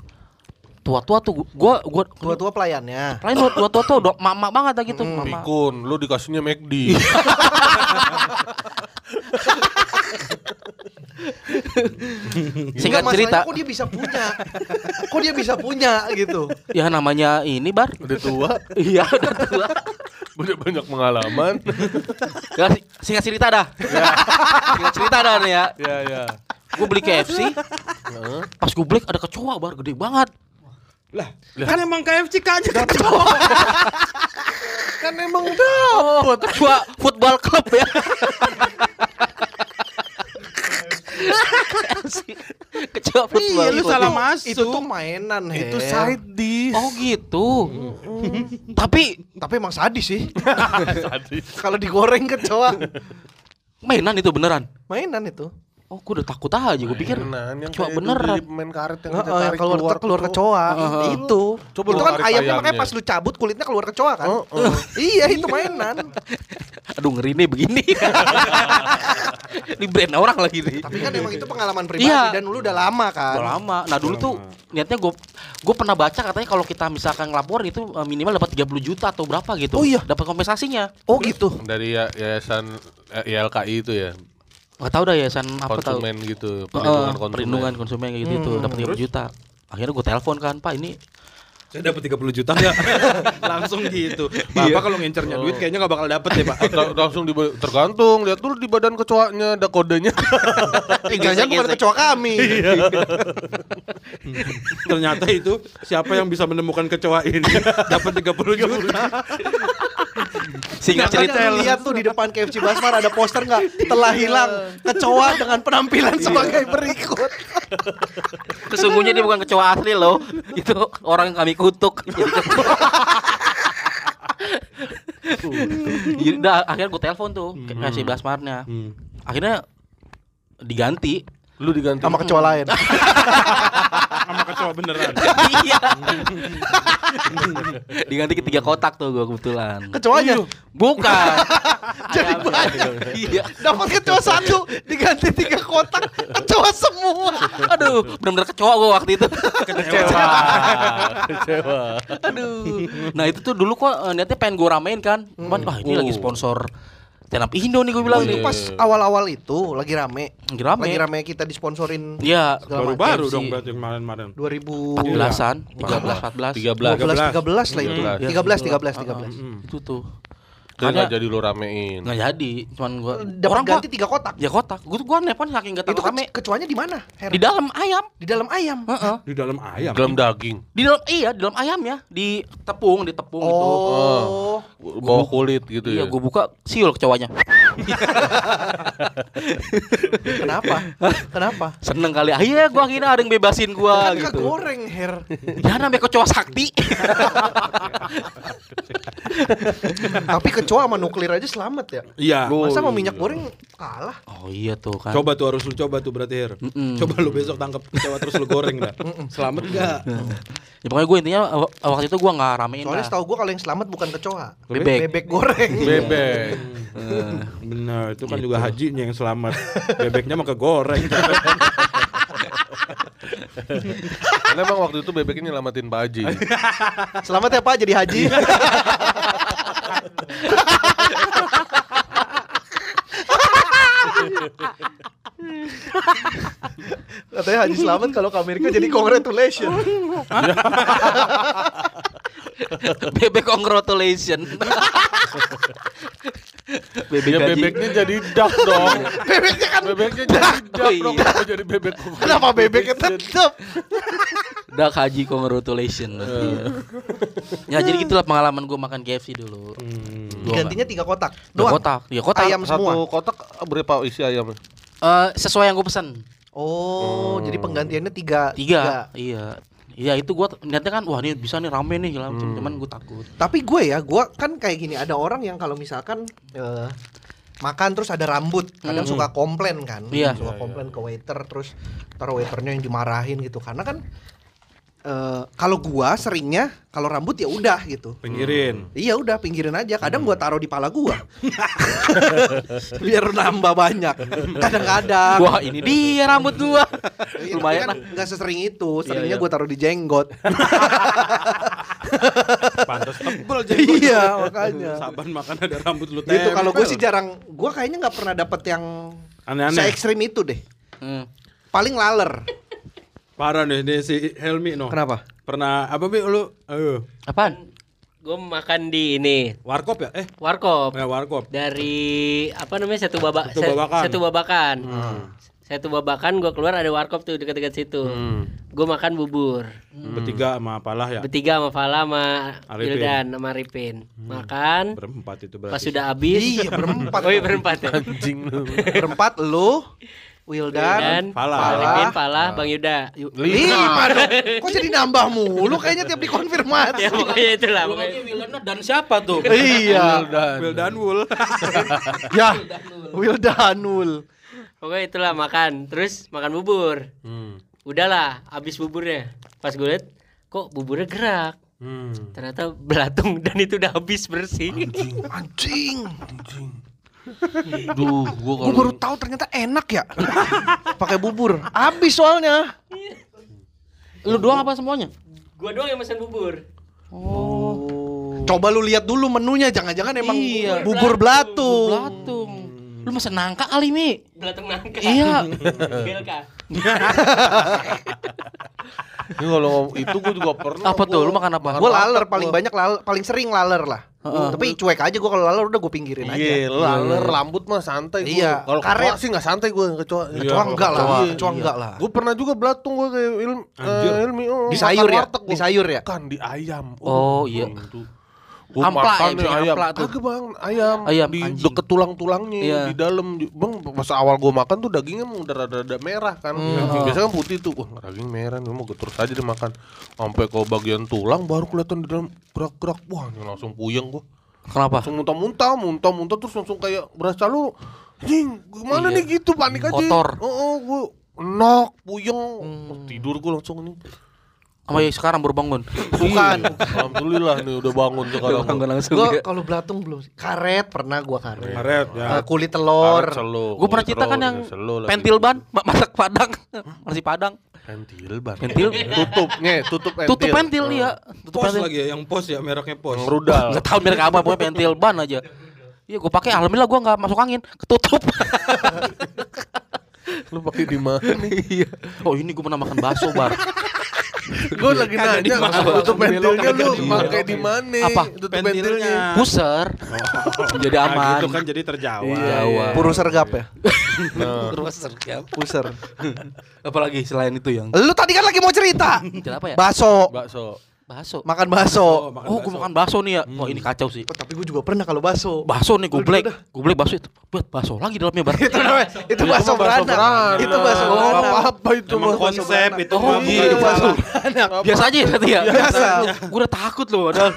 Tua-tua tuh gua gua Tua-tua pelayannya. Lain buat tua tua tuh udah mama banget dah gitu. Hmm, Mama. Pikun, lu dikasihnya McD. Iya. Enggak, Singkat masalahnya cerita, Kok dia bisa punya? kok dia bisa punya gitu? ya namanya ini bar. Udah tua, Iya udah tua. punya banyak pengalaman. Ya, si- singkat cerita dah. singkat cerita dah nih ya. ya ya. Gue beli KFC, Heeh. pas gue beli ada kecoa bar gede banget. Lah, kan emang KFC aja Kan emang udah. Oh, kecoa football club ya. kecoa football. Iya, lu club. salah masuk. Itu tuh mainan, Her. Itu side dish. Oh gitu. Tapi Tapi emang sadis sih. Sadis. Kalau digoreng kecoa. mainan itu beneran. Mainan itu. Oh, gue udah takut aja. Gue pikir Mainan yang kecoa kayak beneran. dulu di Main karet yang Heeh, kita yang tarik Kan keluar keluar, kecoa Heeh. itu. Coba itu lu kan tarik ayamnya ayamnya. makanya pas lu cabut kulitnya keluar kecoa kan. Heeh. iya itu mainan. Aduh ngeri nih begini. Ini brand orang lagi nih. Tapi kan emang itu pengalaman pribadi Iya. dan lu udah lama kan. Udah lama. Nah dulu tuh niatnya gue gue pernah baca katanya kalau kita misalkan ngelapor itu eh, minimal dapat 30 juta atau berapa gitu. Oh iya. Dapat kompensasinya. Oh gitu. Dari ya- yayasan eh, YLKI itu ya. Gak tahu dah yayasan apa tahu. Konsumen gitu, Eh, perlindungan konsumen. perlindungan konsumen kayak gitu itu dapat 30 juta. Akhirnya gue telepon kan, "Pak, ini Saya dapat 30 juta enggak? Langsung gitu. Bapak kalau ngincernya duit kayaknya nggak bakal dapet ya, Pak. Ta- langsung di tergantung lihat dulu di badan kecoanya ada kodenya Jangan bukan gesek-gesek. kecoa kami. Ternyata itu siapa yang bisa menemukan kecoa ini dapat 30 juta. singkat Makanya cerita lu lihat tuh di depan KFC Basmar ada poster nggak telah hilang kecoa dengan penampilan sebagai berikut. sesungguhnya dia bukan kecoa asli loh. Itu orang yang kami kutuk. Gitu. Jadi kecoa. Jadi, dah, akhirnya gue telepon tuh ke- kasih basmarnya. Hmm. Akhirnya diganti lu diganti Sama kecoa lain. Sama kecoa beneran. iya. Diganti ke tiga kotak tuh gue kebetulan. Kecoanya Bukan. Jadi Ayam. banyak. Iya. dapat kecoa satu diganti tiga kotak kecoa semua. Aduh, benar-benar kecewa gue waktu itu. Kecewa. kecewa Aduh. Nah itu tuh dulu kok eh, niatnya pengen gue ramein kan. Cuman wah ini Oh. lagi sponsor stand up Indo nih gue bilang Oh, Itu nih. iya. pas awal-awal itu lagi rame. Lagi rame. Lagi rame kita disponsorin Iya. Baru-baru KFC. dong berarti kemarin-kemarin. 2000 14-an, 13 14. 13 lah 13 itu. 13 13 13. 13. Itu tuh. jadi Karena Nah, nggak jadi lu ramein Hmm. nggak jadi, cuman gue Eh, Dapat ganti tiga kotak. ya kotak. Gue gua nelpon saking iya. gak Itu kan takut rame ke- kecoanya di mana? Her? di dalam ayam. Di dalam ayam. Heeh. Di dalam ayam. dalam daging Di dalam iya, di dalam ayam ya, di tepung, di tepung itu. Oh. bawa kulit gitu ya Iya, gue buka siul kecowanya. Kenapa? Kenapa? Seneng kali. Ah, Iya, gua kira ada yang bebasin gua Kan gitu. kegoreng, Her. Ya namanya kecoa sakti. Tapi kecoa sama nuklir aja selamat ya. Iya. Lu- Masa sama minyak goreng kalah? Oh iya tuh kan. Coba tuh harus lu coba tuh berarti Her. Mm-mm. Coba lu besok tangkap kecoa terus lu goreng dah. Selamat enggak? Ya, pokoknya gue intinya w- waktu itu gua nggak ramein Soalnya lah. setahu gua kalau yang selamat bukan kecoa. Bebek. Bebek goreng. bebek Benar, itu kan juga hajinya yang selamat. Bebeknya mah kegoreng. karena emang waktu itu bebeknya nyelamatin Pak Haji Selamat ya Pak jadi haji. Katanya Haji Selamat kalau ke Amerika jadi congratulations. Bebek congratulation. bebek ya gaji. bebeknya jadi dak dong Bebeknya kan bebeknya jadi dak Oh, iya. dong kenapa jadi bebek kenapa bebeknya tetep? Dak haji congratulation. ya jadi gitulah pengalaman gua makan KFC dulu. Gua Gantinya tiga kotak. nggak- Dua Doang. kotak. Ya kotak. Ayam semua. satu kotak berapa isi ayamnya Eh, sesuai yang gue pesen. Oh, jadi penggantiannya tiga. Hmm. Tiga. Iya. Iya itu gua t- niatnya kan wah ini bisa nih rame nih segala macam. Cuman gue takut. Tapi gue ya, gue kan kayak gini ada orang yang kalau misalkan eh, makan terus ada rambut, kadang suka komplain kan, Hmm. Iya. suka komplain ke waiter terus ntar waiternya yang dimarahin gitu karena kan eh, kalau gua seringnya kalau rambut ya udah gitu. Pinggirin. Iya udah pinggirin aja. Kadang Hmm. gua taruh di pala gua. Biar nambah banyak. Kadang-kadang. Wah ini dia rambut gua. Iya, tapi Lumayan kan lah. nggak sesering itu. Seringnya iya. gua taruh di jenggot. Hmm, Pantas tebel iya, makanya. Saban makan ada rambut lu Gitu kalau gua tempel. sih jarang gua kayaknya nggak pernah dapet yang Aneh-aneh. se ekstrim itu deh. Hmm. Paling laler. Parah nih, nih si Helmi no. Kenapa? Pernah apa bi lu? eh, Aduh, Apaan? Gue Kan makan di ini warkop ya? Eh, warkop eh warkop. dari apa namanya satu babak Satu Babakan. Hmm. satu babakan. Satu babakan gue keluar ada warkop tuh dekat-dekat situ. Gue makan bubur. Bertiga sama apalah Hmm. ya? Bertiga sama Fala sama Arifin. Wildan sama Arifin. Makan Berempat itu pas berarti. sudah habis. Iya, berempat. Oh iya berempat ya. Anjing lu. Berempat lu, Wildan, Wildan, Fala. Arifin, Fala, Bang Yuda. lima dong. Kok jadi nambah mulu kayaknya tiap dikonfirmasi. Ya pokoknya itulah. Pokoknya. dan siapa tuh? iya. Will dan Will. ya. Wildanul. Pokoknya itulah makan. Terus makan bubur. Hmm. Udahlah, habis buburnya. Pas gue liat, kok buburnya gerak. Ternyata belatung dan itu udah habis bersih. Anjing. Duh, Gue gua kalau baru tahu ternyata enak ya. Pakai bubur. Habis soalnya. Lu doang apa semuanya? gua doang yang pesan bubur. Oh, Coba lu lihat dulu menunya, jangan-jangan emang Iya. bubur Oh. belatung. Belatung. Lu mesen nangka kali Mi. Belatung nangka. Iya. Belka. Ini kalau ngom- itu gua juga pernah. Apa gua- tuh? Lu makan apa? Gue laler paling banyak laler, paling sering laler lah. Heeh. Tapi cuek aja gue kalau laler udah gue pinggirin aja. Iya, laler rambut mah santai gua. Iya, Kalau karet. karet sih nggak santai gua kecoa. Kecoa enggak lah, Iya. kecoa enggak lah. Gue pernah juga belatung gue kayak ilm, Anjir. eh, ilmi oh, Di makan sayur ya? warteg gua. Di sayur ya? Bukan di ayam. Oh, iya. Gue Ampla makan ya, nih bisa ayam. ampla tuh. Kagak bang, ayam. Ayam, di anjing. deket tulang-tulangnya Iya. di dalam. Di- Bang, pas awal gue makan tuh dagingnya emang udah rada-rada merah kan. Biasanya kan putih tuh. Wah, daging merah nih mau gue terus aja dimakan. Sampai ke bagian tulang baru kelihatan di dalam gerak-gerak. Wah, ini langsung puyeng gue. Kenapa? Langsung muntah-muntah, muntah-muntah terus langsung kayak berasa lu Jing, gimana Iya. nih gitu panik aja. Kotor. Hmm. Oh, oh gue nok, puyeng. Tidur gue langsung nih. Iya. Sama yang sekarang baru bangun. Bukan. Iya, Alhamdulillah nih udah bangun sekarang. Bangun langsung. Gue kalau belatung belum sih. Karet pernah gue karet. Karet ya. Eh, kulit telur. Karet selo, Gue pernah kulit cerita kan telur, yang selo lagi. pentil ban ma- masak padang, masih padang. Pentil ban. Pentil. tutupnya, tutup pentil. Ah. Tutup pentil iya, tutup Pos pentil. lagi ya, yang pos ya, mereknya pos. Ngerudal. Enggak tahu merek apa, pokoknya pentil ban aja. Iya, gue pakai alhamdulillah gue nggak masuk angin, ketutup. Lu pakai di mana nih? Iya. oh ini gue pernah makan bakso bar. Gue lagi nanya tutup pentilnya lu pakai di mana? Apa? Tutup pentilnya. Puser. Jadi aman. Nah, gitu kan jadi terjawab. Jawa. Puru sergap ya. Nah. Puser. ya. Puser. Apalagi selain itu yang Lu tadi kan lagi mau cerita. Cerita apa ya? Bakso. Bakso. Bakso. Makan bakso. makan Oh, gue makan bakso nih ya. Wah, ini kacau sih. Oh, tapi gue juga pernah kalau bakso. Bakso nih gue black, gue black bakso itu. Buat bakso lagi dalamnya bar. itu namanya, itu Iya, Itu bakso mah bakso beranak. beranak. Itu bakso Oh, beranak. apa-apa itu Emang mah. konsep itu Oh, mah iya, bukan itu salah. Biasa aja ya tadi ya. Biasa. Gue udah takut loh padahal.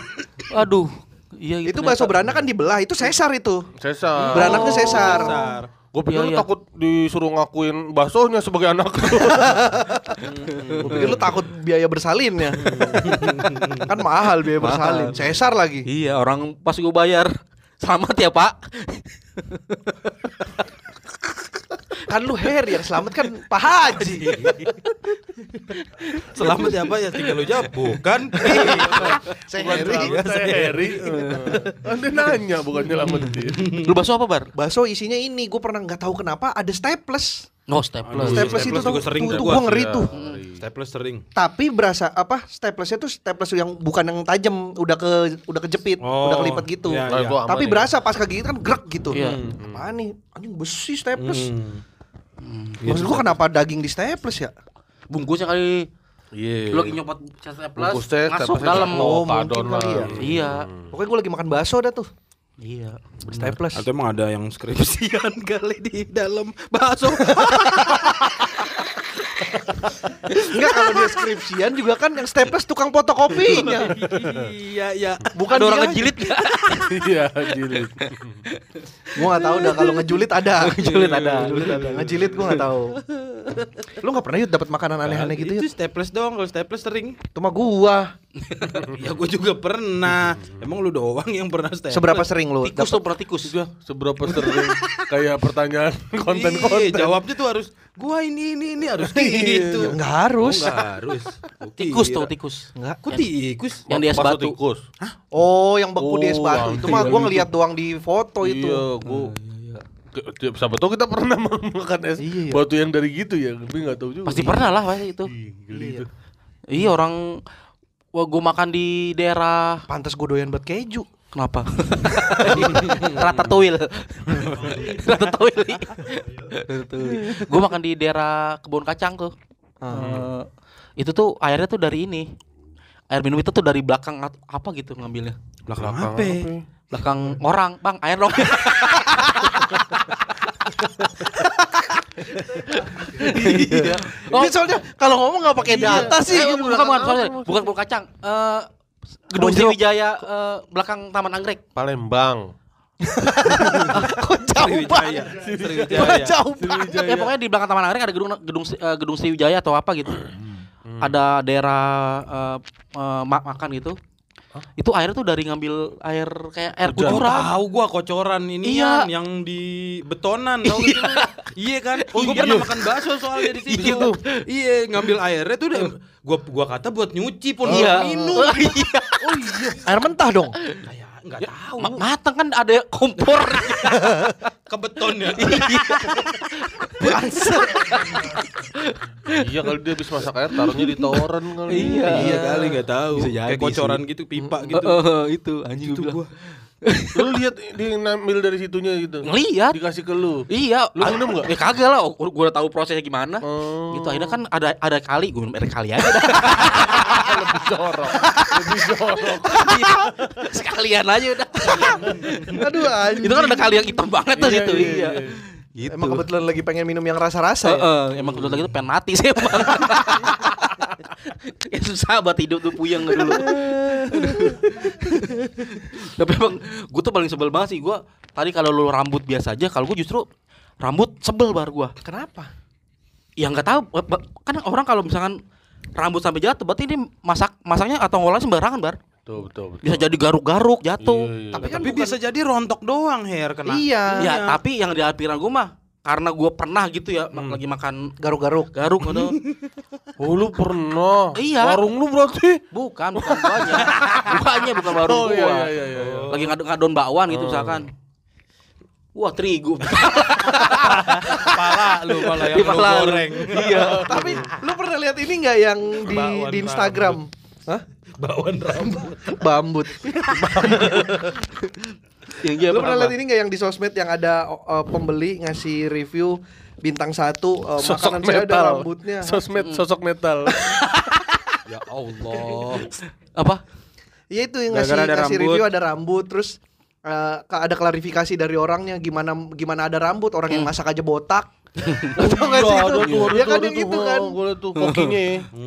Aduh. Iya gitu. Itu bakso ternyata. beranak kan dibelah, itu sesar itu. Cesar. Beranaknya sesar. Dasar. Gue Oh. pikir Iya, lu iya. takut disuruh ngakuin baksonya sebagai anak lu. Iya, Gua pikir lu takut biaya bersalinnya. kan mahal biaya bersalin. Sesar lagi. Iya, orang pas gue bayar. Selamat ya, Pak. Kan lu Heri yang selamat kan Pak Haji. Iya. Selamat Iya, ya Pak ya tinggal lu jawab. Bukan. Saya Bukan Heri. selamat, saya Heri. Anda nanya bukan nyelamatin. Lu bakso apa, Bar? Bakso isinya ini, gue pernah nggak tahu kenapa ada staples. No staples. Staples, itu staples tuh, juga sering iya. tuh, tuh tuh gua. gue ngeri tuh. Staples sering. tapi berasa apa staplesnya tuh staples yang bukan yang tajam udah ke udah kejepit Oh, udah kelipet gitu iya, Nah, iya. gua aman tapi ya. berasa pas kaki kan grek gitu Iya. apaan nih anjing besi staples Hmm. iya maksud gua kenapa daging di staples ya Bungkusnya kali Iya. lu lagi nyopot staples Bungkus teh, masuk staplesnya dalam. jatuh. oh, Oh, mungkin kadon kali lah. ya Iya. pokoknya gua lagi makan bakso dah tuh Iya. staples Hmm. Atau emang ada yang skripsi? Sian kali di dalam bakso. enggak kalau dia skripsian juga kan yang staples tukang fotokopinya iya, iya. Bukan Bukan ada orang dia. ngejilid enggak? Iya, jilid. gua nggak tahu dah kalau ngejulit ada Ngejulit ada. ngejulit ada ngejilid gua nggak tahu Lu nggak pernah yud dapat makanan aneh-aneh gitu itu yud? staples doang kalau staples sering Itu mah gua. ya gue juga pernah emang lu doang yang pernah staples Seberapa sering lu? Eh. Tikus dapet? tuh pernah tikus. Seberapa sering kayak pertanyaan Iya, konten-konten. jawabnya tuh harus gua ini ini ini harus Ya, gitu nggak harus. Oh, nggak harus Gua Tikus kira. tuh tikus. Iya. Enggak. kok tikus Yang di es Maksud batu. Tikus. Oh, yang beku di es Oh, batu. Itu anjing. iya, mah gua gitu. ngeliat doang di foto itu. Iya, Ah, gua. Ke- tiap- Siapa tahu kita pernah makan es Iya. batu yang dari gitu ya, tapi nggak tahu juga. Pasti pernah lah pasti Hmm. itu. Ih, geli itu. Iya orang Wah gue makan di daerah Pantes gua doyan buat keju. Kenapa? Ratatouille Ratatouille Gue makan di daerah kebun kacang tuh Eh, Itu tuh airnya tuh dari ini Air minum itu tuh dari belakang at- apa gitu ngambilnya belakang apa Belakang orang Bang air dong Iya. Dia soalnya kalau ngomong nggak pakai data sih. Eh, bukan bukan sorry, bukan kebun kacang. Eh Gedung Kebun jeruk. Sriwijaya eh, belakang Taman Anggrek. Palembang. Kok jauh banget? Kok Sriwijaya jauh banget? Iya, Ya pokoknya di belakang Taman Anggrek ada gedung gedung Sri- eh, gedung Sriwijaya atau apa gitu. Hmm. Ada daerah eh, eh, ma- makan gitu. Itu air tuh dari ngambil air kayak air Hujan. Ah. Oh, kucuran. tahu gua kocoran ini Iya. yang di betonan tahu gitu. Iya kan? Oh, gua Iya. pernah makan bakso soalnya di situ. Iya, ngambil airnya tuh udah gua gua kata buat nyuci pun buat minum. Iya. Oh, Air mentah dong. Kayak enggak tahu. Ma- matang kan ada kompor. Ke beton ya. iya kali dia habis masak air taruhnya di toren kali. Iya kali enggak tahu. Kayak kocoran gitu, pipa gitu. Oh, Eh, itu anjing Itu Gitu gua. bilang. gua. Lu lihat dia ngambil dari situnya gitu. Ngeliat. Dikasih ke lu. Iya, Lu minum nggak? Ya kagak lah, gua gua udah tahu prosesnya gimana. Oh. Gitu akhirnya kan ada ada kali gua minum air kali aja. Lebih jorok. Lebih jorok. Iya. Sekalian aja udah. Aduh anjing. itu kan ada kali yang hitam banget tuh Iya, gitu. iya, Iya. iya. Gitu. Emang kebetulan lagi pengen minum yang rasa-rasa ya? Heeh, emang kebetulan gitu pengen mati sih emang. ya susah buat hidup tuh puyeng gitu dulu. Aduh. Tapi emang gue tuh paling sebel banget sih gue. Tadi kalau lu rambut biasa aja, kalau gue justru rambut sebel bar gue. Kenapa? Ya nggak tahu, ba- ba- kan orang kalau misalkan rambut sampai jatuh berarti ini masak masaknya atau ngolah sembarangan bar. Betul, betul, betul. Bisa jadi garuk-garuk jatuh. Iya, iya. Tapi kan Tapi bukan- bisa jadi rontok doang hair kena. Iya. Ya tapi yang di pikiran gue mah karena gue pernah gitu ya lagi Hmm. makan Garuk-garuk. garuk atau Oh lu pernah? Iya. Warung lu berarti? Bukan, bukan guanya. guanya bukan baru Oh, gua. Oh. iya, iya, Oh. iya, iya. Lagi ngadon ngadon bakwan gitu misalkan. Wah, terigu. Pala lu, pala yang Di lu pala lu. goreng. Iya. Tapi lu pernah lihat ini nggak yang di Bakwan di Instagram? Hah? Bawon rambut. Bambut. Yang dia lu pernah lihat ini nggak yang di sosmed yang ada uh, pembeli ngasih review bintang satu uh, makanan saya ada rambutnya. Sosmed Hmm. sosok metal. Ya Allah. apa? Iya itu yang ngasih, Gara-gara ada ngasih rambut. review ada rambut terus eh, ka- ada klarifikasi dari orangnya gimana gimana ada rambut orang yang masak aja botak. Tahu nggak Iya, sih itu? Ya kan yang itu kan. Gue tuh kokinya.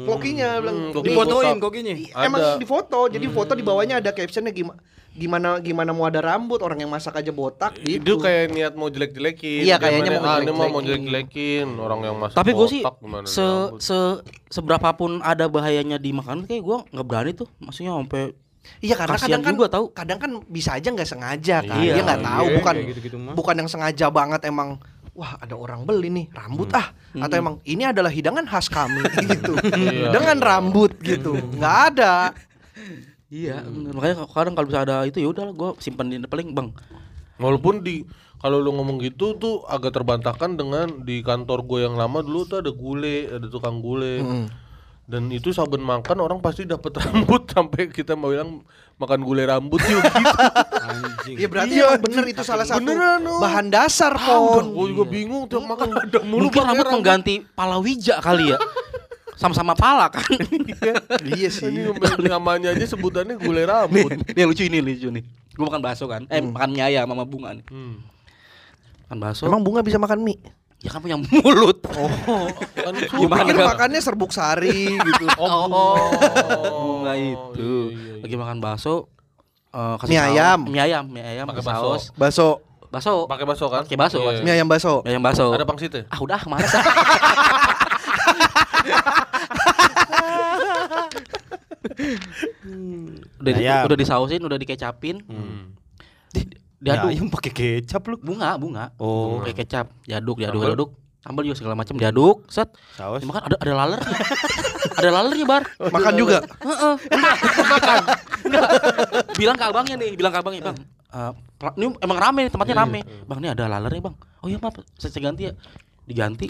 Kokinya bilang Hmm, koki di- Dipotoin kokinya. emang Ada. di foto. Jadi foto di bawahnya ada captionnya gimana gimana gimana mau ada rambut orang yang masak aja botak Itu gitu. kayak niat mau jelek-jelekin. Iya, kayaknya Gimana, mau ah, ini mah mau jelek-jelekin. jelek-jelekin orang yang masak. Tapi gue sih botak gimana se rambut. se seberapapun ada bahayanya di makanan kayak gue nggak berani tuh. Maksudnya sampai Iya karena Kasian kadang kan juga tahu. kadang kan bisa aja nggak sengaja kan. Iya, Dia nggak tahu iya, bukan kayak gitu-gitu mah. bukan yang sengaja banget emang wah ada orang beli nih rambut ah atau emang ini adalah hidangan khas kami gitu. Iya. Dengan rambut gitu. nggak ada. Iya, makanya kadang kalau bisa ada itu ya udah gue simpan di paling bang. Walaupun di kalau lu ngomong gitu tuh agak terbantahkan dengan di kantor gue yang lama dulu tuh ada gule, ada tukang gule. Dan itu saben makan orang pasti dapat rambut sampai kita mau bilang makan gule rambut yuk gitu. Anjing. Ya berarti Iya, emang bener itu salah satu Beneran, oh. bahan dasar Udah, pon. gue Kan juga bingung tiap makan ada mulu Oh, iya. Mungkin pakai rambut mengganti palawija kali ya. Sama-sama pala kan. iya sih. Ini namanya aja sebutannya gule rambut. nih, nih lucu ini lucu nih. Gue makan bakso kan. Eh makan mie ayam sama bunga nih. Hmm. Makan bakso. Emang bunga bisa makan mie? Ya kan punya mulut. Oh, Kan gue Gimana pikir kalau- makannya serbuk sari gitu. Oh, bunga iya, itu. iya, iya. Lagi makan bakso. eh, Mie saus- ayam. Mie ayam, mie ayam Pakai pakai bakso. saus. Baso, Bakso. Pakai bakso kan? Pakai bakso, Iya. bakso. mie ayam baso. Mie ayam bakso. Ada pangsitnya? Ah udah males. udah di- Ayam. udah disausin udah dikecapin Hmm. Ya, diaduk yang pakai kecap lu. bunga bunga Oh. pakai kecap diaduk diaduk Sambal? diaduk sambal juga segala macam diaduk set Saus. dimakan kan ada ada laler ada lalernya bar Oh, Makan juga. Heeh. Enggak, makan. Enggak. Bilang ke abangnya nih, bilang ke abangnya, Bang. eh, pra- ini emang rame, tempatnya rame. Bang, ini ada lalernya, Bang. Oh iya, maaf, saya saya ganti ya. Diganti.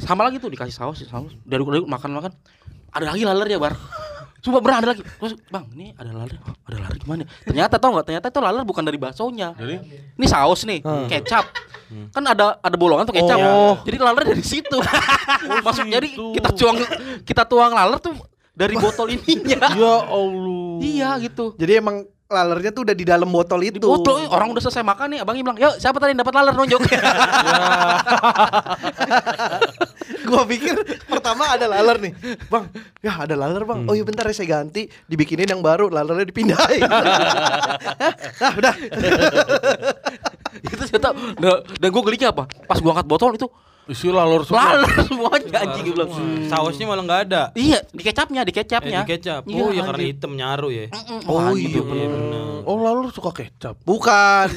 Sama lagi tuh dikasih saus, saus. Dari dari makan-makan. Ada lagi lalernya, Bar. Sumpah bener ada lagi. Terus, Bang, ini ada laler. Oh, ada laler gimana? Ternyata tau nggak? Ternyata itu laler bukan dari baksonya. Jadi? Ini saus nih, kecap. Kan ada ada bolongan tuh kecap. Oh. Jadi laler dari situ. Masuk jadi kita tuang kita tuang laler tuh dari botol ininya. Ya Allah. Iya gitu. Jadi emang lalernya tuh udah di dalam botol itu. Di botol eh, orang udah selesai makan nih, abangnya bilang, "Yuk, siapa tadi yang dapat laler nonjok?" Gua pikir pertama ada laler nih. Bang, ya ada laler, Bang. Oh iya Hmm. bentar ya saya ganti, dibikinin yang baru, lalernya dipindahin. Hah? nah, udah. itu saya tahu. Nah, dan gue gelinya apa? Pas gua angkat botol itu Isi lalur semua. laler semuanya anjing gue bilang. Sausnya malah nggak ada. Iya, di kecapnya, di Ya, kecapnya. di kecap. Oh ya karena anjing. hitam nyaru ya. Oh Iya iya. benar. Oh, lalur suka kecap. Bukan.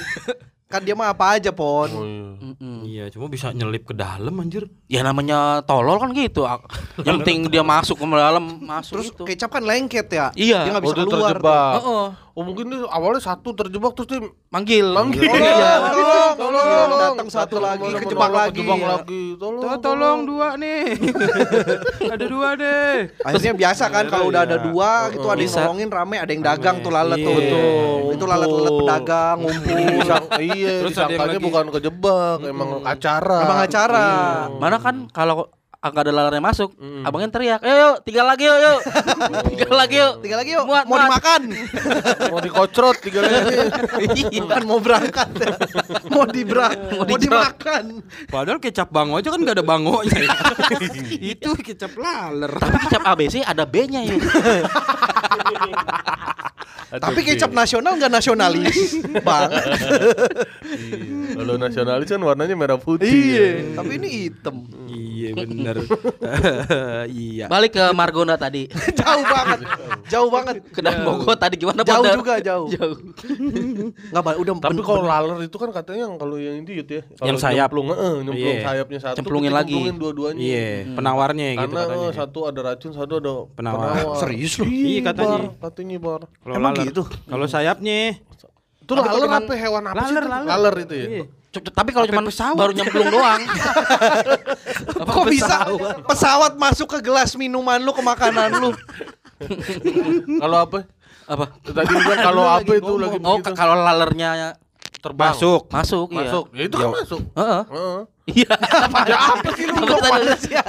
Kan dia mah apa aja, Oh Pon. iya. Mm-mm. Iya, cuma bisa nyelip ke dalam anjir. Ya namanya tolol kan gitu. Ak- Yang penting dia masuk ke dalam, masuk Terus gitu. kecap kan lengket ya. Iya. Dia nggak Oh, bisa dia keluar. terjebak. Heeh. Oh, mungkin dia awalnya satu terjebak terus dia Manggil. Manggil. Oh, iya. Tolong, tolong, datang satu lagi, tolong, kejebak tolong, lagi. kejebak lagi. Tolong, dua nih. ada dua deh. Akhirnya biasa kan Iya, kalau udah ada dua Oh, gitu ada yang Bisa. nolongin rame, ada yang dagang tuh lalat tuh. Betul, Itu ngumpul. lalat-lalat pedagang ngumpul. Disang- iya, Terus ada yang disangkanya lagi. bukan kejebak, emang acara. Iya. Emang acara. Oh. Mana kan kalau agak ada lalernya masuk, Mm. abangnya teriak, "Eh, yuk, tiga lagi yuk, yuk." Oh. tiga lagi yuk. Tiga lagi yuk, Muat, mau muat. dimakan. Iya. Mau dikocrot tiga lagi. Bukan mau berangkat. ya. mau diberang, mau dimakan. Padahal kecap bango aja kan gak ada bangonya. ya. Itu kecap laler. Tapi kecap ABC ada B-nya ya. Tapi kecap nasional nggak nasionalis, Bang. Iya. Kalau nasionalis kan warnanya merah putih. Iya, tapi ini hitam. Iya benar. Iya. Balik ke Margonda tadi. Jauh banget. Jauh banget. Kedai Bogor tadi gimana Jauh Ponder? juga, jauh. Jauh. Nggak, Bang, udah Tapi ben- kalau ben- laler itu kan katanya yang kalau yang ini ya. Kalau Yang sayap. Nyemplung, eh, nyemplung Iya. sayapnya satu. Cemplungin terus lagi. dicemplungin dua-duanya. Iya, penawarnya gitu Karena katanya. eh, satu ada racun, satu ada Penawar. serius lu. Iya, katanya. Bar, katanya bar. Kalau Emang laler. gitu? Kalau sayapnya Itu laler apa hewan apa sih? Laler, itu? laler. Laler itu ya. Iya. Cep- cep- Tapi kalau cuma baru nyemplung doang. Kok bisa pesawat masuk ke gelas minuman lu ke makanan lu? Kalau apa? Apa? Tadi bilang kalau apa itu lagi Oh, begitu. ke- kalau lalernya terbang. masuk. masuk, Masuk. Ya itu kan masuk. iya. Heeh. Heeh. Iya. apa sih lu?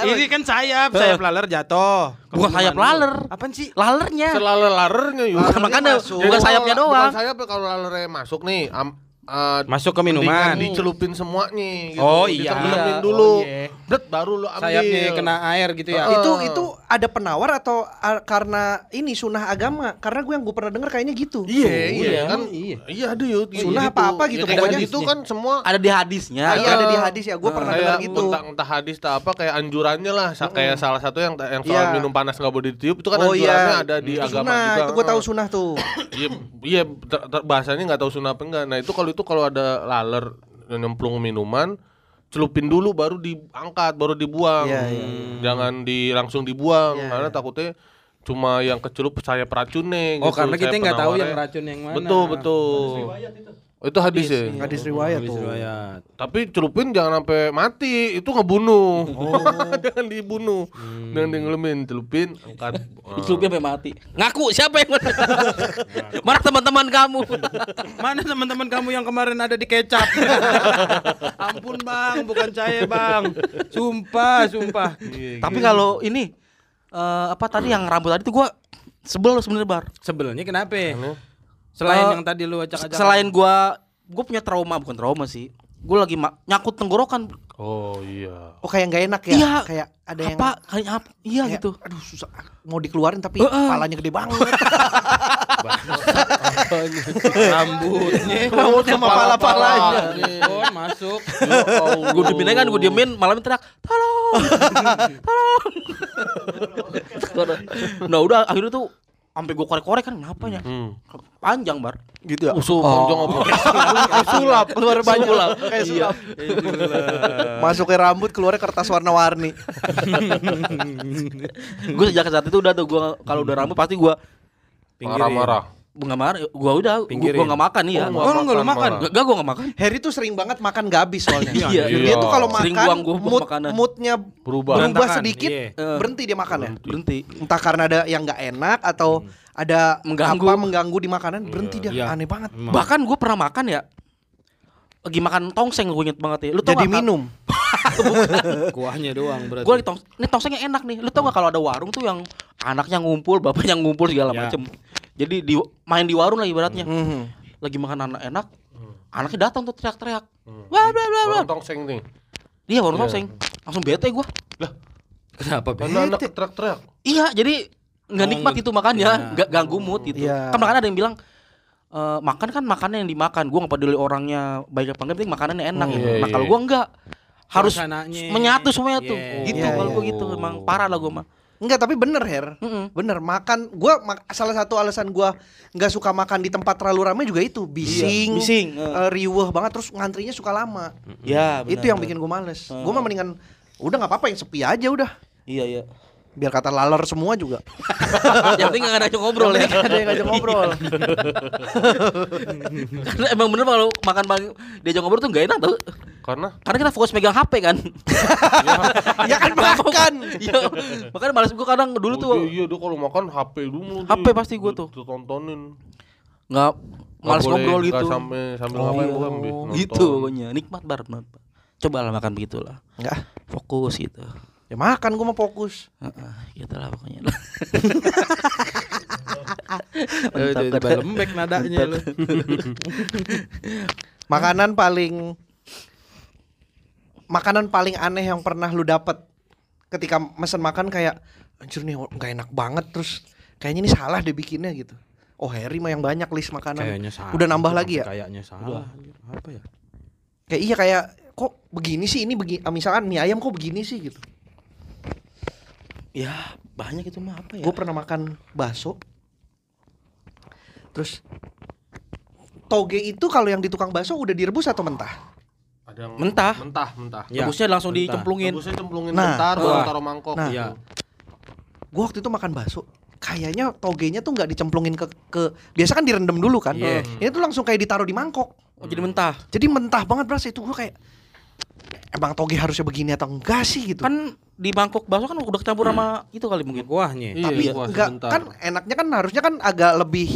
Ini kan sayap, sayap laler jatuh. Ke Bukan sayap minuman lu. laler. Apaan sih? Lalernya. Selaler-lalernya yuk. Nah, Bukan makanya masuk. bukan sayapnya doang. Bukan sayap kalau lalernya masuk nih. am- eh, Masuk ke minuman. mendingan dicelupin semuanya gitu. Oh, iya. Ditemenin Iya. dulu. Oh, iya. Bret, baru lu ambil. Sayapnya kena air gitu ya. itu Eh. itu ada penawar atau a- karena ini sunnah agama? Karena gue yang gue pernah dengar kayaknya gitu. Iya, iya iya. kan. Oh, iya. Iya ada yuk. Sunnah apa-apa gitu, pokoknya. pokoknya. itu kan semua Ada di hadisnya. Iya, Iya. ada di hadis ya, gue Nah, pernah kayak dengar gitu. Entah, entah hadis entah apa kayak anjurannya lah. Sa- Kayak salah satu yang yang soal Iya. minum panas nggak boleh ditiup itu kan Oh anjurannya iya, ada di itu agama sunnah, juga. itu gue tahu Heeh. sunnah tuh. Iya, iya ter- ter- bahasanya nggak tahu sunnah apa enggak. Nah, itu kalau itu kalau ada laler nyemplung minuman celupin dulu baru diangkat, baru dibuang. Iya, iya, Jangan di langsung dibuang Iya, karena takutnya cuma yang kecelup sayap racunnya Oh, karena kita sayap nggak tahu penawarnya. yang racun yang mana. Betul, betul. Itu hadis ya. Hadis riwayat Habis tuh. riwayat. Tapi celupin jangan sampai mati, itu ngebunuh. Oh. jangan dibunuh. Hmm. Jangan dingelemin, celupin, angkat. Celupnya sampai mati. Ngaku siapa yang Mana teman-teman kamu? Mana teman-teman kamu yang kemarin ada di kecap? Ampun bang, bukan saya bang. Sumpah, sumpah. Tapi kalau ini eh, apa tadi yang rambut tadi tuh gua sebel sebenarnya bar. Sebelumnya kenapa? Selain Eh, yang tadi lu acak-acak. Selain gua gua punya trauma bukan trauma sih. Gua lagi ma- nyakut tenggorokan Oh iya. Oh kayak nggak enak ya? Iya. Kayak ada yang apa kayak apa iya kayak, gitu Aduh susah mau dikeluarin tapi Heeh. kepalanya gede banget. rambutnya Rambut sama pala-palanya. Bon, masuk. Ya gue diemin kan gue diemin malam teriak tolong tolong nah udah akhirnya tuh sampai gue korek-korek kan kenapa ya Hmm. panjang bar gitu ya. Oh. Usul panjang apa? Kayak sulap, keluar banyak. Sulap. Iya. Kayak sulap. Masuknya rambut, keluarnya kertas warna-warni. gue sejak saat itu udah tuh gue kalau udah rambut pasti gue ya. Marah-marah. gue nggak marah gue udah Pinggirin. gue nggak makan iya Oh, Oh, enggak lu makan. marah. Gak, gue gak makan Harry tuh sering banget makan gak habis soalnya. Iya. Dia tuh kalau makan Sering buang gua mood, makanan. moodnya Berubah. berubah Berantakan, sedikit, iya. Eh. berhenti dia makan ya. Berhenti Entah karena ada yang nggak enak atau ada Mengganggu. apa mengganggu di makanan, berhenti dia. Iya. Aneh banget. Emang. Bahkan gue pernah makan ya lagi makan tongseng gue inget banget ya. Lu tau Jadi gak, minum. Kuahnya doang berarti. Gue lagi tong, ini tongsengnya enak nih. Lu tau gak kalau ada warung tuh yang anaknya ngumpul, bapaknya ngumpul segala Ya. macem. Jadi di, main di warung lah ibaratnya. Mhm. Lagi makan anak enak, anaknya datang tuh teriak-teriak. Wah, bla bla bla. Orang tongseng Hmm. nih. Iya warung Iya. tongseng. Langsung bete gue. Kenapa, Bang? Karena Kan anak teriak-teriak. Iya, jadi nggak Oh, nikmat nggak- gitu makannya, Iya. nggak ganggu mood gitu. Iya. Kan makanya ada yang bilang eh, makan kan makannya yang dimakan. Gue nggak peduli orangnya baik apa enggak, yang penting makanannya enak. Hmm, gitu. iya, Nah kalau iya. gue enggak harus Suasananya. menyatu semuanya tuh. Yes. Gitu Iya, kalau iya. gue gitu emang parah lah gue mah. Enggak, tapi bener Her. Mm-mm. Bener makan, gua mak- salah satu alasan gua nggak suka makan di tempat terlalu ramai juga itu Iya, bising, Bising, eh. eh, riweh banget terus ngantrinya suka lama. Ya, itu yang bikin gue males. Gue mah mendingan udah nggak apa-apa yang sepi aja udah. Iya, iya. Biar kata laler semua juga. yang penting nggak ngajak ngobrol ya. Ada yang ngajak ngobrol. Karena emang bener kalau makan bang diajak ngobrol tuh nggak enak tau. Karena Karena kita fokus megang HP kan. ya kan makan. Iya. Makanya males gue kadang dulu Oh, dia- tuh iya dia kalau makan HP dulu. HP dia. pasti gua Dia- tuh. dia tontonin. nggak Nggak males boleh, ngobrol nggak gitu. Sampai sambil ngapain Iya. bukan Bi? Nonton. gitu pokoknya nikmat banget nikmat. coba lah makan begitulah Enggak. fokus gitu Ya makan gue mau fokus. Heeh, gitu lah pokoknya Eh, Tiba-tiba lembek nadanya lu. Makanan paling makanan paling aneh yang pernah lu dapet ketika mesen makan kayak anjir nih nggak enak banget terus kayaknya ini salah deh bikinnya gitu. Oh Harry mah yang banyak list makanan. Kayaknya salah. gitu, Udah nambah lagi ya? Kayaknya salah. Apa ya? Kayak iya kayak kok begini sih ini begini misalkan mie ayam kok begini sih gitu. ya banyak itu mah Iya. apa ya Gue pernah makan bakso. Terus toge itu kalau yang di tukang bakso udah direbus atau mentah? Ada yang Mentah. Iya. Mentah, mentah. Ya. rebusnya langsung Bentar. dicemplungin Rebusnya cemplungin Nah. bentar baru Wah. taruh mangkok. Nah. Iya. Gue waktu itu makan bakso. Kayaknya togenya tuh nggak dicemplungin ke ke biasa kan direndam dulu kan. Iya. Ini tuh langsung kayak ditaruh di mangkok. oh, jadi mentah Jadi mentah banget berasa itu gue kayak emang toge harusnya begini atau enggak sih gitu. kan di Bangkok bakso kan udah campur sama itu kali mungkin Kuahnya. Iya, Tapi kuah enggak sebentar. kan enaknya kan harusnya kan agak lebih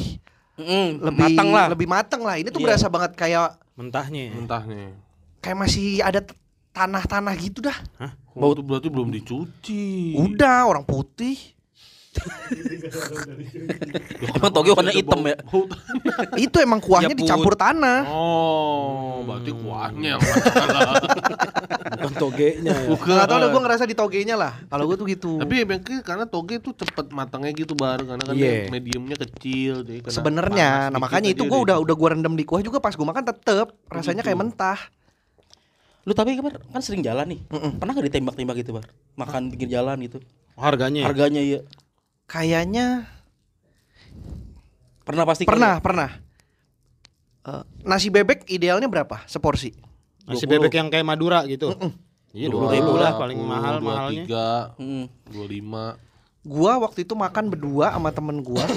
Mm, lebih matang lah lebih mateng lah. Ini tuh Iya. berasa banget kayak Mentahnya. mentah nih. kayak masih ada t- tanah-tanah gitu dah. Bau tuh Oh, berarti belum dicuci. Iya. Udah orang putih. emang toge warna hitam ya Itu emang kuahnya Ya, Put. dicampur tanah. Oh, berarti Hmm. kuahnya yang Bukan togenya ya. Gue gak tau deh gue ngerasa di togenya lah Kalau gue tuh gitu Tapi ya bengkel karena toge itu cepet matangnya gitu bar karena kan Iya. dia mediumnya kecil jadi kena Sebenarnya Nah panas dikit makanya aja gitu. itu gue dia- udah udah gue rendam di kuah juga pas gue makan tetep Rasanya kayak mentah lu tapi kan, kan sering jalan nih pernah gak ditembak-tembak gitu bar makan pinggir jalan gitu Harganya. harganya iya Kayaknya pernah pasti kali ya? ya? Pernah pernah Eh, Nasi bebek idealnya berapa seporsi? Nasi bebek yang kayak Madura gitu. Iya, 20 Dua ribu lah puluh, paling mahal mahalnya. 23, ya? Mm. 25. Gua waktu itu makan berdua sama temen gua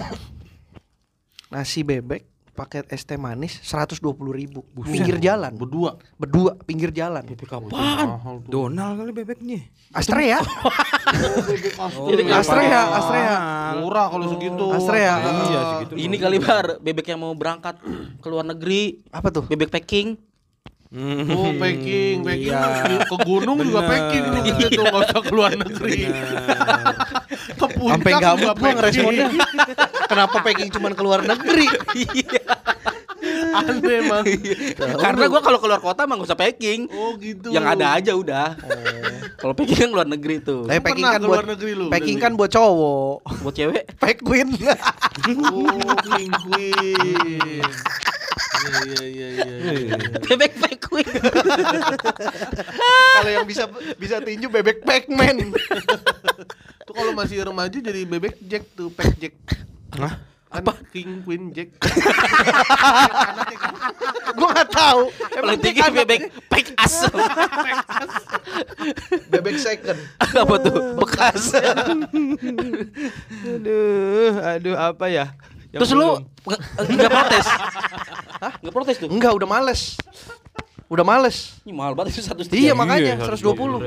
Nasi bebek paket es teh manis 120 ribu Pinggir jalan Berdua. Berdua pinggir jalan apaan Mahal tuh. Donal kali bebeknya. Astrea Oh, Jadi iya, Astrea, Astrea. Murah kalau segitu. Astrea. Iya, eh, segitu. ini kali bar bebek yang mau berangkat ke luar negeri Apa tuh? bebek packing Oh, Hmm, packing, packing. Iya. Ke gunung juga Bener. packing nih gitu tuh, enggak usah keluar negeri. Ke puncak Sampai juga gabut gua packing. ngeresponnya. Kenapa packing cuman keluar negeri? Iya. Aneh emang. Karena gua kalau keluar kota mah gak usah packing. Oh gitu. Yang ada aja udah. Kalau packing kan luar negeri tuh. Tapi packing pernah kan ke buat luar negeri lu, gitu. packing Deli? kan buat cowok. Buat cewek Pack queen. Oh, Queen Queen. Iya iya iya iya. bebek packing. Kalau yang bisa bisa tinju bebek Pac-Man. Tuh kalau masih remaja jadi bebek Jack tuh, pack Jack. Hah? Apa? King Queen Jack. Gua nggak tahu. Paling tinggi bebek pack as. bebek second. Apa tuh? Bekas. aduh, aduh apa ya? Yang Terus lu belum. nge- eh, nggak protes? Hah? Nggak protes tuh? Enggak, udah males. Udah males. Ini mahal banget itu satu Iya, setiap. makanya Iya, 120.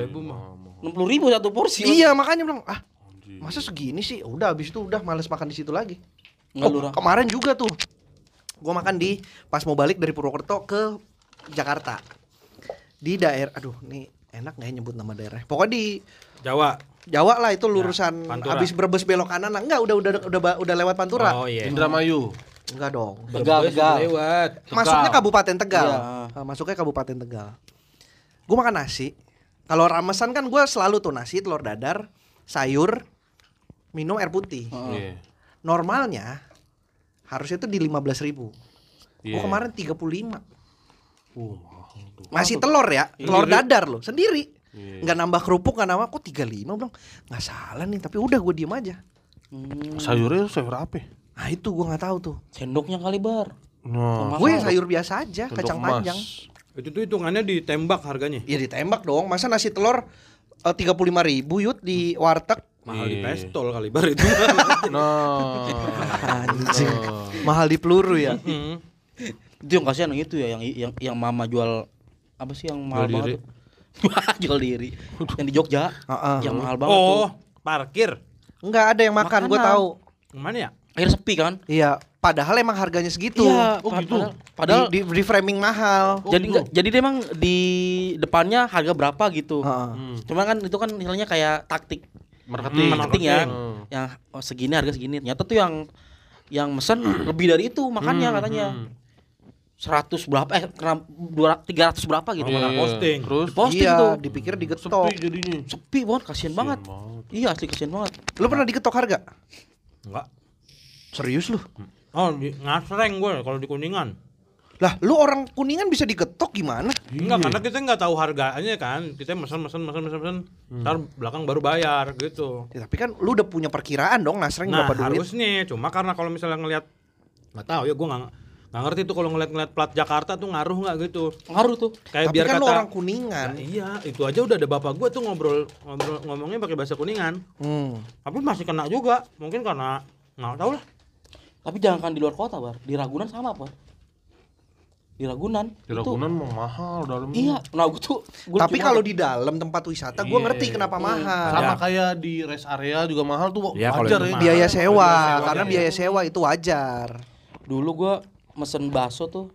Enam puluh ribu satu porsi. Iya, makanya bilang, ah, masa segini sih? Udah habis itu udah males makan di situ lagi. Nggak Oh, lurah. kemarin juga tuh. Gua makan di pas mau balik dari Purwokerto ke Jakarta. Di daerah aduh, nih enak nggak ya nyebut nama daerah. Pokoknya di Jawa. Jawa lah itu lurusan Ya, Pantura. habis Brebes belok kanan. Enggak, udah udah udah udah lewat Pantura. Oh iya. Indramayu. Enggak dong. Tegal, tegal. Lewat. Masuknya Kabupaten Tegal. Iya. Ah, Masuknya Kabupaten Tegal. Gue makan nasi. Kalau ramesan kan gue selalu tuh nasi, telur dadar, sayur, minum air putih. Iya. Normalnya harusnya itu di 15.000 ribu. Gue kemarin 35. Iya. Wah, Masih telur ya, Iya. telur dadar loh, sendiri. Iya. Nggak nambah kerupuk, nggak nambah. Kok 35 belum? Nggak salah nih, tapi udah gue diem aja. sayurnya sayur apa? ya? Nah itu gue nggak tahu tuh. Sendoknya kali bar. Nah, Gue sayur biasa aja, kacang panjang. Itu tuh hitungannya ditembak harganya. Ya ditembak dong. Masa nasi telur eh, tiga puluh ribu yut di warteg? Mahal di Iya. pestol kali bar itu. Nah. Anjing, mahal di peluru ya. Hmm. Itu yang kasihan yang itu ya yang yang yang mama jual apa sih yang mahal Jual diri. banget? Tuh? jual diri. Yang di Jogja. Heeh. Yang mahal banget tuh. Oh, parkir. Enggak ada yang makan, gue Makanan. tahu. Yang Mana ya? Akhirnya sepi kan? Iya, padahal emang harganya segitu. Iya, Oh, pa- gitu. padahal- Padahal di, di, di framing mahal. jadi nggak- jadi dia emang di depannya harga berapa gitu. Heeh. Cuman kan itu kan misalnya kayak taktik Marketing. Nah. Hmm, marketing ya. Iya. Yang oh, segini harga segini. Ternyata tuh yang yang mesen lebih dari itu makannya Hmm, katanya. 100 berapa eh kena 200 300 berapa gitu Iya, makan iya. posting. Terus Posting iya, tuh. dipikir digetok. sepi jadinya. Sepi banget, kasihan banget. banget. Iya, asli kasihan banget. Lu pernah digetok harga? Enggak. Serius lu? Oh, di, ngasreng gue kalau di Kuningan. Lah, lu orang kuningan bisa digetok gimana? Enggak, karena kita nggak tahu harganya kan. Kita mesen mesen mesen mesen mesen. Ntar belakang baru bayar gitu. Ya, tapi kan lu udah punya perkiraan dong nasreng Nah, Kan berapa duit. harusnya cuma karena kalau misalnya ngelihat nggak tahu ya gue nggak nggak ngerti tuh kalau ngeliat-ngeliat plat Jakarta tuh ngaruh nggak gitu. Ngaruh tuh. Kayak tapi biar kan kata lu orang Nah, kuningan. iya, itu aja udah ada bapak gue tuh ngobrol, ngobrol ngomongnya pakai bahasa kuningan. Hmm. Tapi masih kena juga, mungkin karena nggak tahu lah. Tapi jangan kan di luar kota, Bar. Di Ragunan sama, Bar. Di Ragunan. Di Ragunan mah mahal Itu, dalamnya. iya. Nah, gue tuh gua Tapi cuma- kalau di dalam tempat wisata gue Iya. ngerti kenapa mahal. Sama kayak di rest area juga mahal tuh Iya, kalau wajar itu ya. mahal. biaya sewa sewa, karena iya. biaya sewa itu wajar dulu gua mesen bakso tuh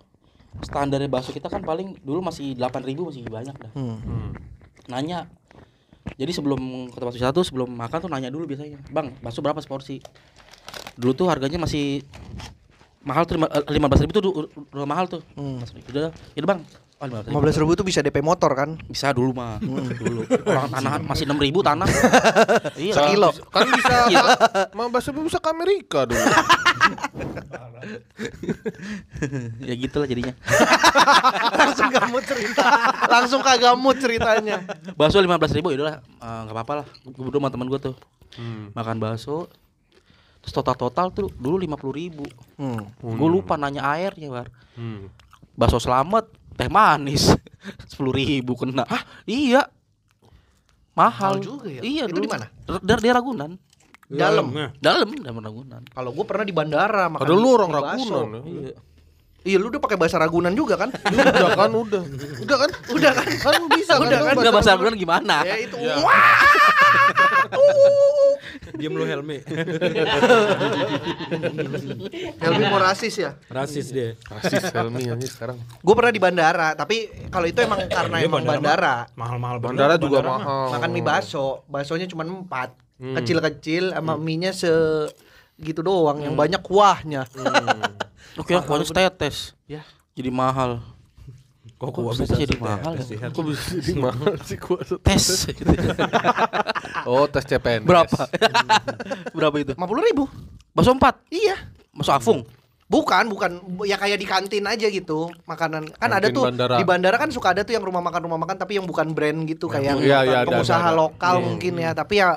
standarnya bakso kita kan paling dulu masih 8000 masih banyak dah. Hmm. Nanya. Jadi sebelum ke tempat wisata tuh sebelum makan tuh nanya dulu biasanya. Bang, bakso berapa seporsi? Dulu tuh harganya masih mahal tuh lima belas ribu tuh du- udah mahal tuh Hmm. udah ya bang oh, 15.000. 15.000 ribu itu bisa DP motor kan bisa dulu mah Hmm. dulu orang tanah masih enam ribu tanah iya Sekilo. Kan bisa Iya. mah bahasa bisa ke Amerika dulu. ya gitulah jadinya langsung kamu cerita langsung kagak mood ceritanya bakso lima belas ribu udahlah eh, nggak apa-apa lah gue berdua sama teman gue tuh Hmm. makan bakso terus total total tuh dulu lima puluh ribu hmm. gue lupa nanya airnya bar Hmm. bakso selamat teh manis sepuluh ribu kena Hah? iya Mahal mahal juga ya? iya Itu dulu. di mana? Ra- dari daerah Ragunan Dalam. Nah, dalam dalam Ragunan kalau gue pernah di bandara makan Ada lu orang bakso. Ragunan. ya. iya iya lu udah pakai bahasa Ragunan juga kan Udah kan udah. Udah kan? udah kan Kan bisa kan? Udah lu kan? nggak bahasa Ragunan gimana ya itu Iya. wah diem lu Helmi. Helmi mau rasis ya Rasis dia. Rasis Helmi ini sekarang. gue pernah di bandara tapi kalau itu emang karena Dia emang bandara bandara Mahal-mahal bener, Bandara juga mah. mahal. makan mie baso basonya cuma empat Hmm. kecil-kecil sama mie nya se Hmm. gitu doang yang banyak kuahnya Oke, aku harus tetes. Ya. jadi mahal. Kok gua bisa jadi mahal ya? Kok bisa jadi mahal sih kuasa Tes gitu. Oh, tes CPNS. berapa? berapa itu? 50 ribu Bakso empat, Iya bakso afung. Bukan, bukan ya kayak di kantin aja gitu makanan. Kan ada Kantin tuh bandara. di bandara kan suka ada tuh yang rumah makan rumah makan tapi yang bukan brand gitu kayak Iya, iya, ada, pengusaha ada, ada. lokal Iya. mungkin ya. Tapi ya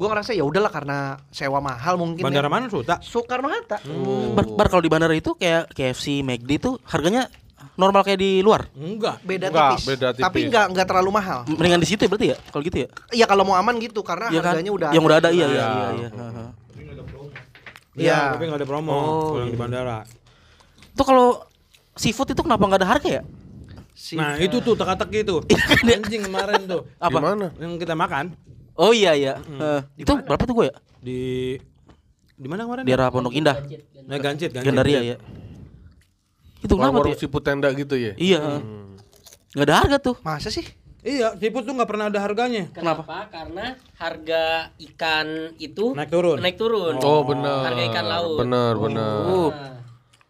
gua ngerasa ya udahlah karena sewa mahal mungkin. ya. Bandara mana Suta? Soekarno Hatta. Hmm. Bar, bar kalau di bandara itu kayak KFC, McD itu harganya normal kayak di luar. Enggak. Beda Enggak, tipis. beda Tapi tipis. nggak nggak terlalu mahal. Mendingan di situ ya berarti ya? Kalau gitu ya? Iya kalau mau aman gitu karena Iya kan? harganya udah Yang udah ada iya Iya. iya Nah, iya. iya. Heeh. Iya. Iya, tapi enggak ada promo Oh, kalau yang iya. di bandara. Itu kalau seafood itu kenapa nggak ada harga ya? Si- Nah, itu tuh teka-teki itu. Anjing kemarin tuh. Apa? Gimana? Yang kita makan Oh iya iya. Heeh. itu berapa tuh gue ya? di di mana kemarin? Daerah Pondok Indah. Nah, Gancit, Gancit. Gandaria ya. Itu kenapa tuh? Warung ya? siput tenda gitu ya? Iya. Nggak ada harga tuh. Masa sih? Iya, siput tuh nggak pernah ada harganya. Kenapa? Karena harga ikan itu Naik turun. Naik turun. Oh, benar. Harga ikan laut. Benar, benar. Oh.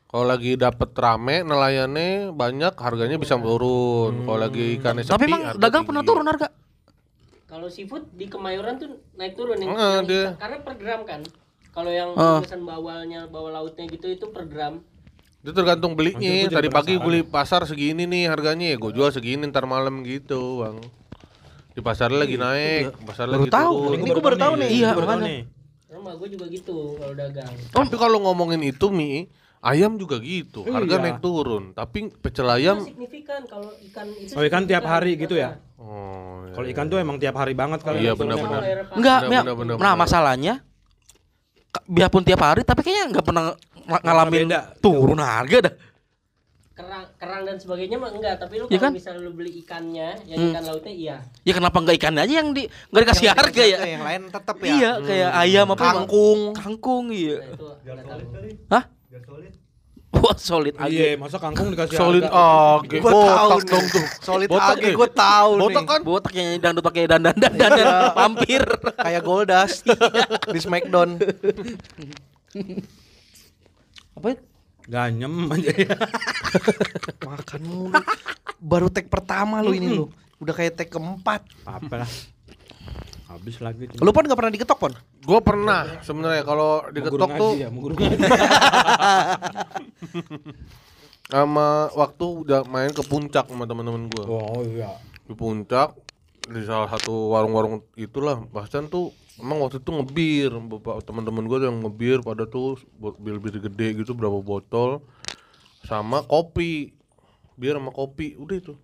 Kalau lagi dapet rame nelayannya banyak harganya bisa turun. Kalau lagi ikannya sepi Hmm. Tapi emang harga dagang tinggi. pernah turun harga? Kalau seafood di Kemayoran tuh naik turun yang, Heeh, yang dia. ikan. karena per gram kan. Kalau yang Ah. tulisan bawalnya, bawal lautnya gitu itu per gram. Itu tergantung belinya. Anjing, gua jadi Tadi pagi gue beli pasar segini nih harganya ya gue jual segini ntar malam gitu, Bang. Di pasar lagi naik, pasar Iya, Baru lagi tahu. turun. Ini gua baru tahu nih. Iya, Baru tahu makanya. nih. Rumah gue juga gitu kalau dagang. Tapi Oh. kalau ngomongin itu Mi, ayam juga gitu. Harga Iya. naik turun, tapi pecel Itu ayam signifikan kalau ikan itu. Oh, ikan tiap signifikan. hari gitu ya? Oh, iya. Kalau ikan tuh emang tiap hari banget kali. Iya, ya, turunnya. benar-benar. Kalau air pasir. Enggak, Benar, Mia. benar, benar, nah benar. masalahnya ka- biarpun tiap hari tapi kayaknya nggak pernah ng- ngalamin beda. turun harga dah. kerang kerang dan sebagainya mah enggak tapi lu Iya kalau kan? Hmm. misalnya lu beli ikannya yang ikan lautnya iya Ya kenapa nggak ikan aja yang di nggak dikasih Yang- harga ya? Yang lain tetap ya. Iya, kayak ayam apa emang? Kangkung. Kangkung nah iya. itu Biar nggak tahu solid kali. Hah? Biar solid. Wah, solid Iya, aja. masa kangkung dikasih solid harga. age. Gua tahu Botak nih. dong tuh. Solid Botak age ya? gua tahu nih. Iya. Botak kan? Botak yang dangdut pakai dandan dandan pampir. Kayak Goldust di Smackdown. Apa itu? Ganyem aja. Makan mulu. Baru tag pertama lu ini lu. Udah kayak tag keempat. Apa lah. Habis lagi. tuh. Lu pon nggak pernah diketok pon? Gue pernah sebenarnya kalau Mau diketok guru tuh ngaji ya, mau guru ngaji. sama waktu udah main ke puncak sama teman-teman gue. Oh iya. Di puncak di salah satu warung-warung itulah bahkan tuh emang waktu itu ngebir bapak teman-teman gue yang ngebir pada tuh bot- bir-bir gede gitu berapa botol sama kopi bir sama kopi udah itu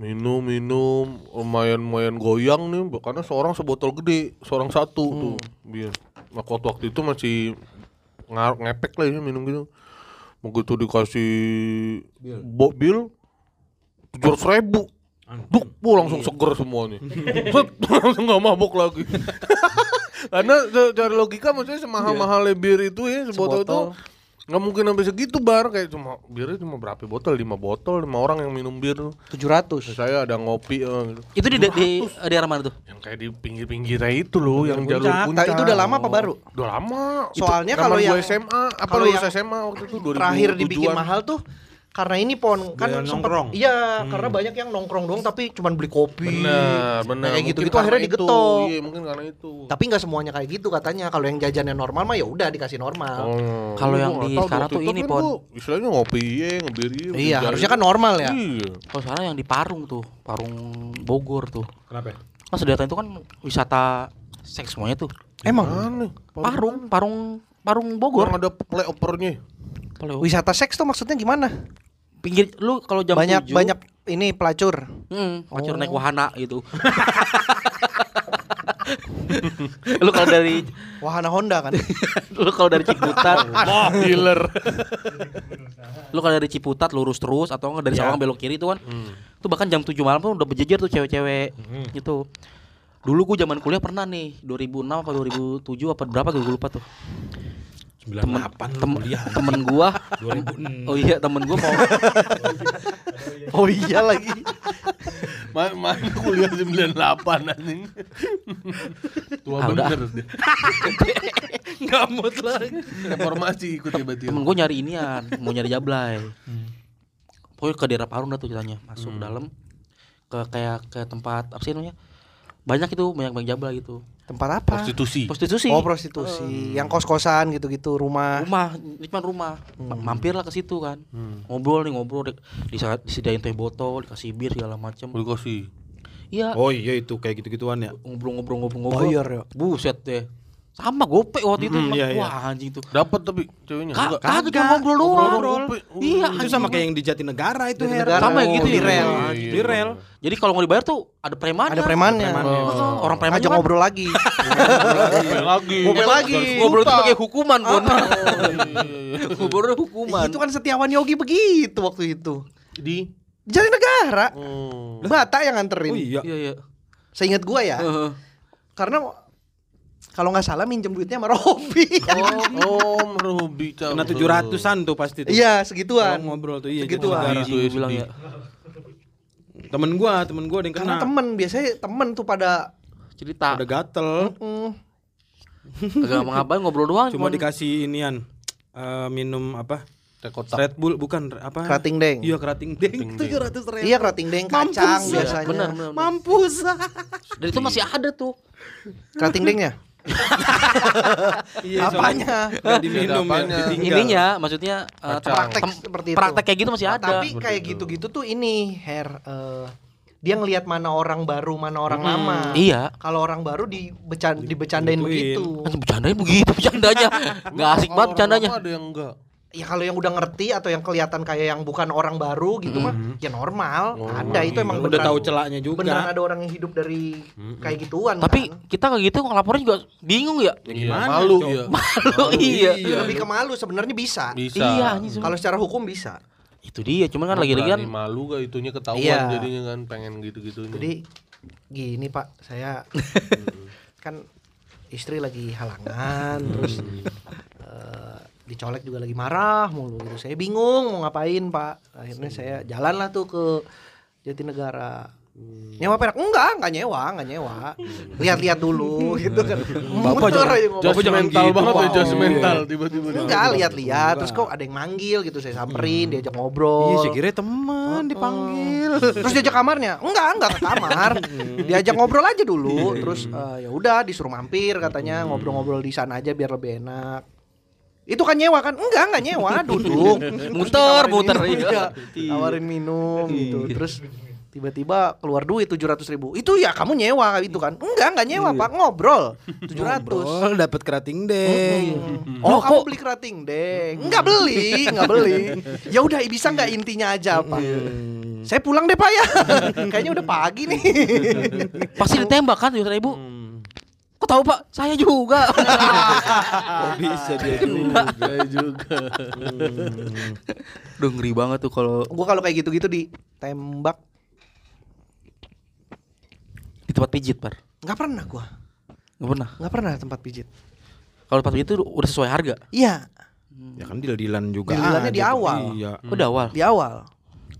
minum minum lumayan lumayan goyang nih karena seorang sebotol gede seorang satu tuh bir nah waktu waktu itu masih ngar- ngepek lah ya minum gitu begitu dikasih mobil tujuh ratus ribu duk bu langsung seger semuanya Set, langsung nggak mabok lagi karena dari logika maksudnya semahal mahalnya bir itu ya sebotol, itu Sebotol. nggak mungkin sampai segitu bar kayak cuma birnya cuma berapa botol lima botol lima orang yang minum bir tuh. 700. saya ada ngopi eh, gitu. Itu di, di, di daerah mana tuh? yang kayak di pinggir-pinggirnya itu loh yang puncak. jalur puncak Nah, Itu udah lama apa baru? udah lama Soalnya Itu kalau zaman gua yang- SMA apa kalau lulus yang SMA waktu itu 2007 Terakhir dibikin mahal tuh karena ini pon kan Biar sempet- nongkrong. iya karena banyak yang nongkrong doang tapi cuman beli kopi Hmm. benar benar kayak Mungkin gitu gitu karena akhirnya itu. digetok iya mungkin karena itu tapi nggak semuanya kayak gitu katanya kalau yang jajannya normal mah ya udah dikasih normal Oh, Kalau gua yang nggak di tahu, sekarang waktu tuh itu ini, kan Pon. gua istilahnya ngopi ya ngebir iya iya harusnya kan normal ya iya Kalau sekarang yang di Parung tuh, Parung Bogor tuh. Kenapa? ya? Mas Sudirta itu kan wisata seks semuanya tuh. emang aneh Parung, Parung, Parung Bogor. yang ada playopernya Kalau wisata seks tuh maksudnya gimana pinggir lu kalau jam banyak 7, banyak Oh. ini pelacur Hmm, pacar naik wahana gitu. lu kalau dari wahana Honda kan lu kalau dari Ciputat, ah dealer lu kalau dari Ciputat lurus terus atau enggak dari Iya. Sawang belok kiri itu kan. Itu bahkan jam 7 malam pun udah berjejer tuh cewek-cewek gitu. Dulu gua zaman kuliah pernah nih 2006 apa 2007 apa berapa gitu gua lupa tuh. 98 Tem temen gua 2006. Oh iya temen gua mau oh iya lagi Ma- mana kuliah 98 anjing tua Ah, udah. bener dia Ngamut lagi reformasi ikut ya. tiba-tiba Temen gue nyari inian Mau nyari jablay pokoknya ke daerah Parung dah tuh ceritanya masuk dalam ke kayak ke tempat apa sih namanya banyak itu banyak banyak jabla gitu Tempat apa? prostitusi prostitusi Oh prostitusi, yang kos-kosan gitu-gitu, rumah. rumah cuma rumah Ma- mampirlah ke situ kan ngobrol nih ngobrol di- disa- disediain teh botol dikasih bir segala macem Udah kasih iya Oh iya itu kayak gitu-gituan ya. ngobrol-ngobrol-ngobrol-ngobrol Boyor ya. buset deh sama gope waktu itu Mm, emang. iya, iya. wah anjing tuh Dapat tapi ceweknya Ka- enggak. kagak Kagak. cuma ngobrol doang Iya, Ngobrol. Ngobrol. iya Itu Itu anjing. sama kayak yang di Jatinegara itu Her. Jatinegara. sama yang gitu di ya. rel. Iya, Iya, iya. Di rel. jadi kalau nggak dibayar tuh ada preman Ada premannya. Oh, orang preman Ngajak kan- ngobrol lagi. Ngobrol lagi. Ngobrol lagi. ngobrol itu pakai hukuman Gon ngobrol itu hukuman itu kan Setiawan Yogi begitu waktu itu. Di Jadi negara. Bata yang Oh nganterin. iya. iya Oh. iya Seingat gua ya. Heeh. Karena kalau nggak salah minjem duitnya sama Robi. Oh, merubi Kena 700-an tuh pasti tuh. Iya, Kalau segituan. ngobrol tuh iya. Segituan. Jatinegara. Itu Anjing, SD. bilang ya Temen gua, temen gua ada yang Karena kena. temen biasanya temen tuh pada cerita Udah gatel. mm, agak ngapain ngobrol doang Cuma cuman dikasih inian. eh, minum apa? Teh kotak. Red Bull bukan re- apa? kerating deng. Iya kerating deng. 700 ribu. Iya kerating deng kacang Iya, biasanya. benar, benar, benar. Mampus. dan itu masih ada tuh Kerating dengnya. Iya, Apanya? Udah diminum ya, Apanya? ditinggal. ininya maksudnya eh, Kacang. tempat- Praktek tem- seperti itu. praktek kayak gitu masih ada Tapi Seperti kayak itu. gitu-gitu tuh ini hair eh, dia ngelihat mana orang baru, mana orang lama. iya Kalau orang baru dibecan, dibecandain Digituin. begitu. Anjing, bercandanya begitu bercandanya nggak asik banget bercandanya Ada yang enggak. Ya kalau yang udah ngerti atau yang kelihatan kayak yang bukan orang baru gitu mah, ya normal. ada itu emang Hmm. iya. Udah beneran- tahu celaknya Beneran juga. Hmm. ada orang yang hidup dari kayak gituan. tapi kan. kita kayak gitu ngelaporin juga bingung ya Ya, gimana, malu Cok? ya. Malu, iya. lebih ke malu sebenarnya bisa. Bisa. Iya, anjing semua. Kalau secara hukum bisa. itu dia cuman kan lagi-lagi kan Berani malu gak itunya ketahuan Iya. jadinya kan pengen gitu-gitunya. Jadi gini Pak, saya kan istri lagi halangan terus eh, dicolek juga lagi marah mulu gitu. Saya bingung mau ngapain Pak. Akhirnya saya jalan lah tuh ke Jatinegara. Hmm. Nyewa perak? Enggak, enggak nyewa, enggak nyewa. Lihat-lihat dulu gitu kan. Hmm. Muter Bapak jangan- aja ngomong. Just Bapak jangan mental gitu, banget ya, Pak. just Iya. mental tiba-tiba. Enggak, lihat-lihat. Terus kok ada yang manggil gitu, saya samperin, diajak Iya, ngobrol. saya kira teman Oh, dipanggil. terus diajak kamarnya enggak enggak ke kamar diajak ngobrol aja dulu terus eh, ya udah disuruh mampir Hmm. katanya ngobrol-ngobrol di sana aja biar lebih enak itu kan nyewa kan enggak enggak nyewa duduk Terus Muter, ditawarin muter, minum, iya. iya. tawarin minum gitu terus tiba-tiba keluar duit tujuh ratus ribu itu ya kamu nyewa itu kan enggak enggak nyewa Iya. pak ngobrol tujuh ratus Ngobrol, dapat kerating deng. Oh, kamu beli kerating deng? Enggak beli, enggak beli. Ya udah, bisa nggak intinya aja apa? Hmm. Saya pulang deh pak ya. Kayaknya udah pagi nih. pasti ditembak kan tujuh ibu kok tahu pak saya juga Oh, bisa dia Kena. juga. juga. Duh ngeri banget tuh kalau Gue kalau kayak gitu-gitu ditembak, di tempat pijit par nggak pernah gua nggak pernah nggak pernah tempat pijit. kalau tempat pijit itu udah sesuai harga Iya, Ya kan deal-dealan juga. Deal-dealannya aja di tuh. awal. Iya. udah awal di awal.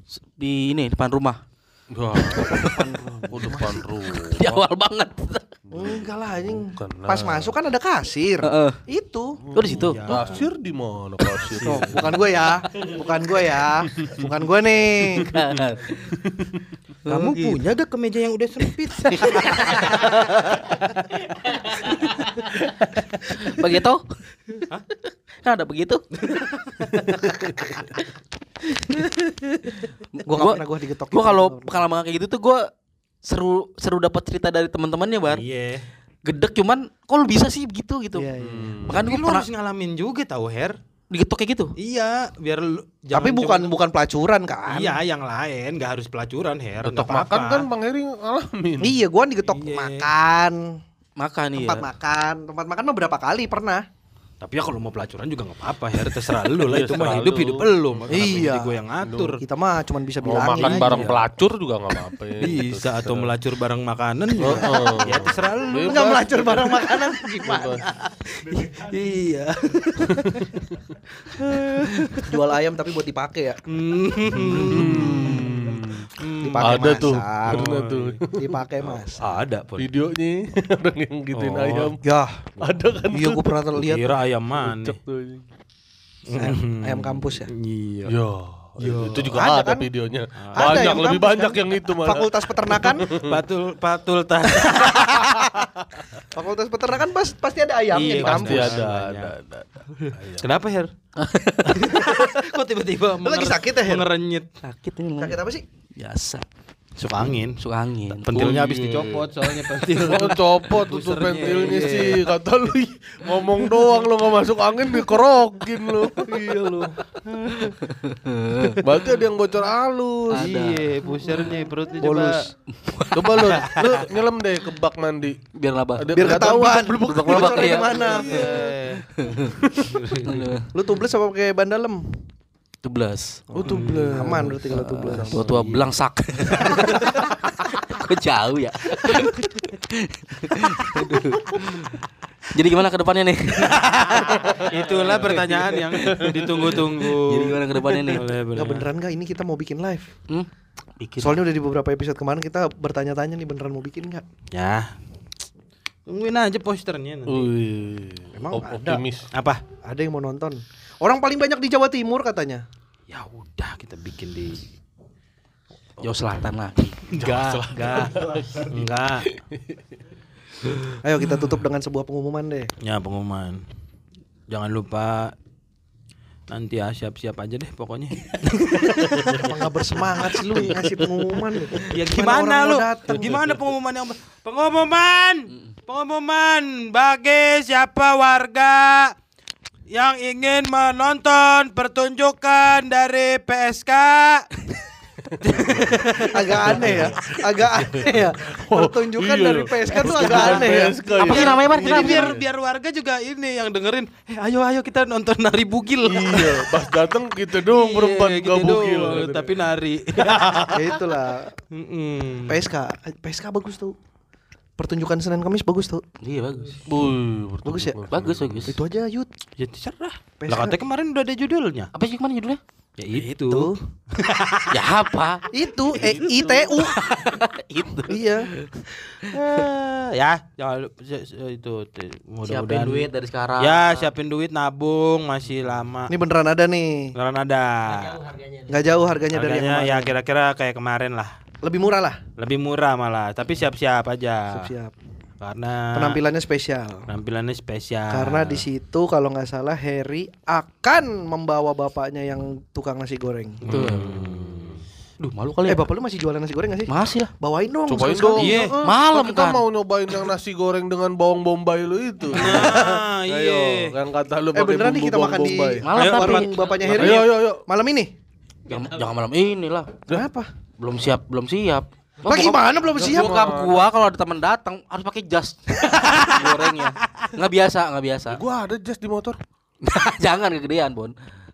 S- di ini depan rumah Wah, depan rumah, depan rumah. di awal banget Enggak lah anjing. Bukan lah. Pas masuk kan ada kasir. Heeh. Itu. oh di situ Pasir di mana pasir? Tuh, bukan gue ya, bukan gue ya, bukan gue nih. Nah, Gitu. Kamu punya gak kemeja yang udah sempit? begitu Hah? Kan ada begitu Gue nggak pernah gue digetok. Gue kalau pengalaman kayak gitu tuh gue seru seru dapat cerita dari teman-temannya bar. Iya. Gedek cuman kok lu bisa sih begitu gitu. Iya, iya. Makanya Tapi gue lu pernah harus ngalamin juga tahu Her. digetok kayak gitu. Iya, biar lu tapi jangan bukan cuma- bukan pelacuran kan? Iya, yang lain gak harus pelacuran Her. Tetap Tetap makan kan Bang Heri ngalamin. Iya, gua digetok Iya. makan, Makan iya. tempat makan, tempat makan mah berapa kali pernah. Tapi ya kalau mau pelacuran juga gak apa-apa Her, terserah lu lah Iya, itu mah terserah hidup lu. hidup lu. Makanya Iya. jadi gue yang ngatur. Kita mah cuman bisa Mau bilangin. Oh, makan aja. bareng pelacur juga nggak apa-apa. ya, gitu. Bisa atau melacur bareng makanan Oh, juga. Heeh. ya terserah lu. Lu nggak melacur bareng makanan gimana? Iya. Jual ayam tapi buat dipakai ya. Hmm. Dipakai Hmm. Ada masak. tuh, Iya. pernah tuh. Dipakai masak. Ada pun. Videonya orang yang gituin Oh. ayam. Yah, Ada kan Ya, iya gua pernah terlihat Kira ayam mana? tuh. ayam, ayam kampus ya. Iya. Ya. itu juga Ada ada, kan? videonya. Ada Banyak yang lebih kampus banyak kan? yang itu malah. Fakultas peternakan, Patul patul tas. fakultas peternakan pas, pasti ada ayamnya Iya, di kampus. Pasti kampus. ada, Banyak. ada, ada, ada. Kenapa Her? Kok tiba-tiba Iya. Lu lagi sakit ya, Her? Mengerenyit. sakit ini Bang. Sakit apa sih? biasa Suka angin. masuk angin Pentilnya Oh, habis iya. dicopot soalnya pentil. Lo copot tutup Busernya, pentilnya iya. sih Kata lu "Ih, ngomong doang lo gak masuk angin dikerokin lo Iya lo Berarti ada yang bocor halus Iya, pusernya perutnya Bolus Coba lo, lo nyelam deh ke bak mandi biar laba Ada Biar kelihatan ketahuan. blubuk-blubuk. Blubuk-blubuk, bocornya iya. di mana? Aduh, Lu tubles apa pakai bandalem? 12 Oh tuh bener. Aman berarti kalau tubles. tua-tua belangsak kok jauh ya Aduh. jadi gimana ke depannya nih Itulah pertanyaan yang ditunggu-tunggu. jadi gimana ke depannya nih Boleh, boleh. Enggak beneran enggak ini kita mau bikin live. hmm? bikin Gitu. Soalnya udah di beberapa episode kemarin kita bertanya-tanya nih beneran mau bikin nggak? Ya. Tungguin aja posternya nanti. Wih, Emang op- ada. optimis. Apa? Ada yang mau nonton. Orang paling banyak di Jawa Timur katanya. Ya udah kita bikin di jauh selatan lagi enggak enggak enggak Ayo Hmm. kita tutup dengan sebuah pengumuman deh. ya pengumuman jangan lupa nanti ya siap-siap aja deh pokoknya Apa nggak bersemangat sih lu ngasih pengumuman? lu? ya gimana orang lu mau datang? gimana pengumuman yang pengumuman pengumuman bagi siapa warga yang ingin menonton pertunjukan dari PSK Agak aneh ya, agak aneh ya. Oh, Pertunjukan iya. dari PSK tuh agak aneh ya. PSK apa sih namanya Mar? Iya. Jadi Kenapa? biar biar warga juga ini yang dengerin eh, ayo ayo kita nonton nari bugil Iya, pas dateng kita dong Iya, berempat gitu gak bugil. doang, tapi nari. Ya itulah. Mm-mm. PSK, PSK bagus tuh. Pertunjukan Senin Kamis bagus tuh. iya bagus Wih, Bagus ya? bagus bagus Itu aja Yud. Ya terserah. PSK. Lah katanya kemarin udah ada judulnya. apa sih kemarin judulnya Ya itu. Tuh. ya apa Itu eh, ITU. itu iya. Eh, ya, jangan lupa- se- se- itu te- siapin mudah-mudahan. duit dari sekarang Ya, siapin duit nabung masih lama. Ini beneran ada nih. Beneran ada. Nggak jauh harganya, dari yang Harganya kemarin. ya kira-kira kayak kemarin lah. Lebih murah lah. Lebih murah malah, tapi siap-siap aja. Siap-siap. Karena Penampilannya spesial. penampilannya spesial. Karena di situ kalau nggak salah Harry akan membawa bapaknya yang tukang nasi goreng. Betul. Hmm. duh malu kali Eh ya bapak lu masih jualan nasi goreng gak sih? masih lah Bawain dong. Cobain sekali-sekali. dong. Iya, Heeh. malam kita kan mau nyobain yang nasi goreng dengan bawang bombay lu itu. Ah, Nah, Ayo, iya. yang kata lu Eh pakai beneran nih bumbu kita bawang makan di bombay. Malam Ayo, tapi. warung bapaknya Harry. Ayo, ayo, ayo. Malam ini. jangan, jangan malam ini lah Kenapa? belum siap belum siap Oh, Lah gimana belum siap? Bokap gua kalau ada teman datang harus pakai jas gorengnya. Nggak biasa, nggak biasa. Gua ada jas di motor. Jangan kegedean, Bon.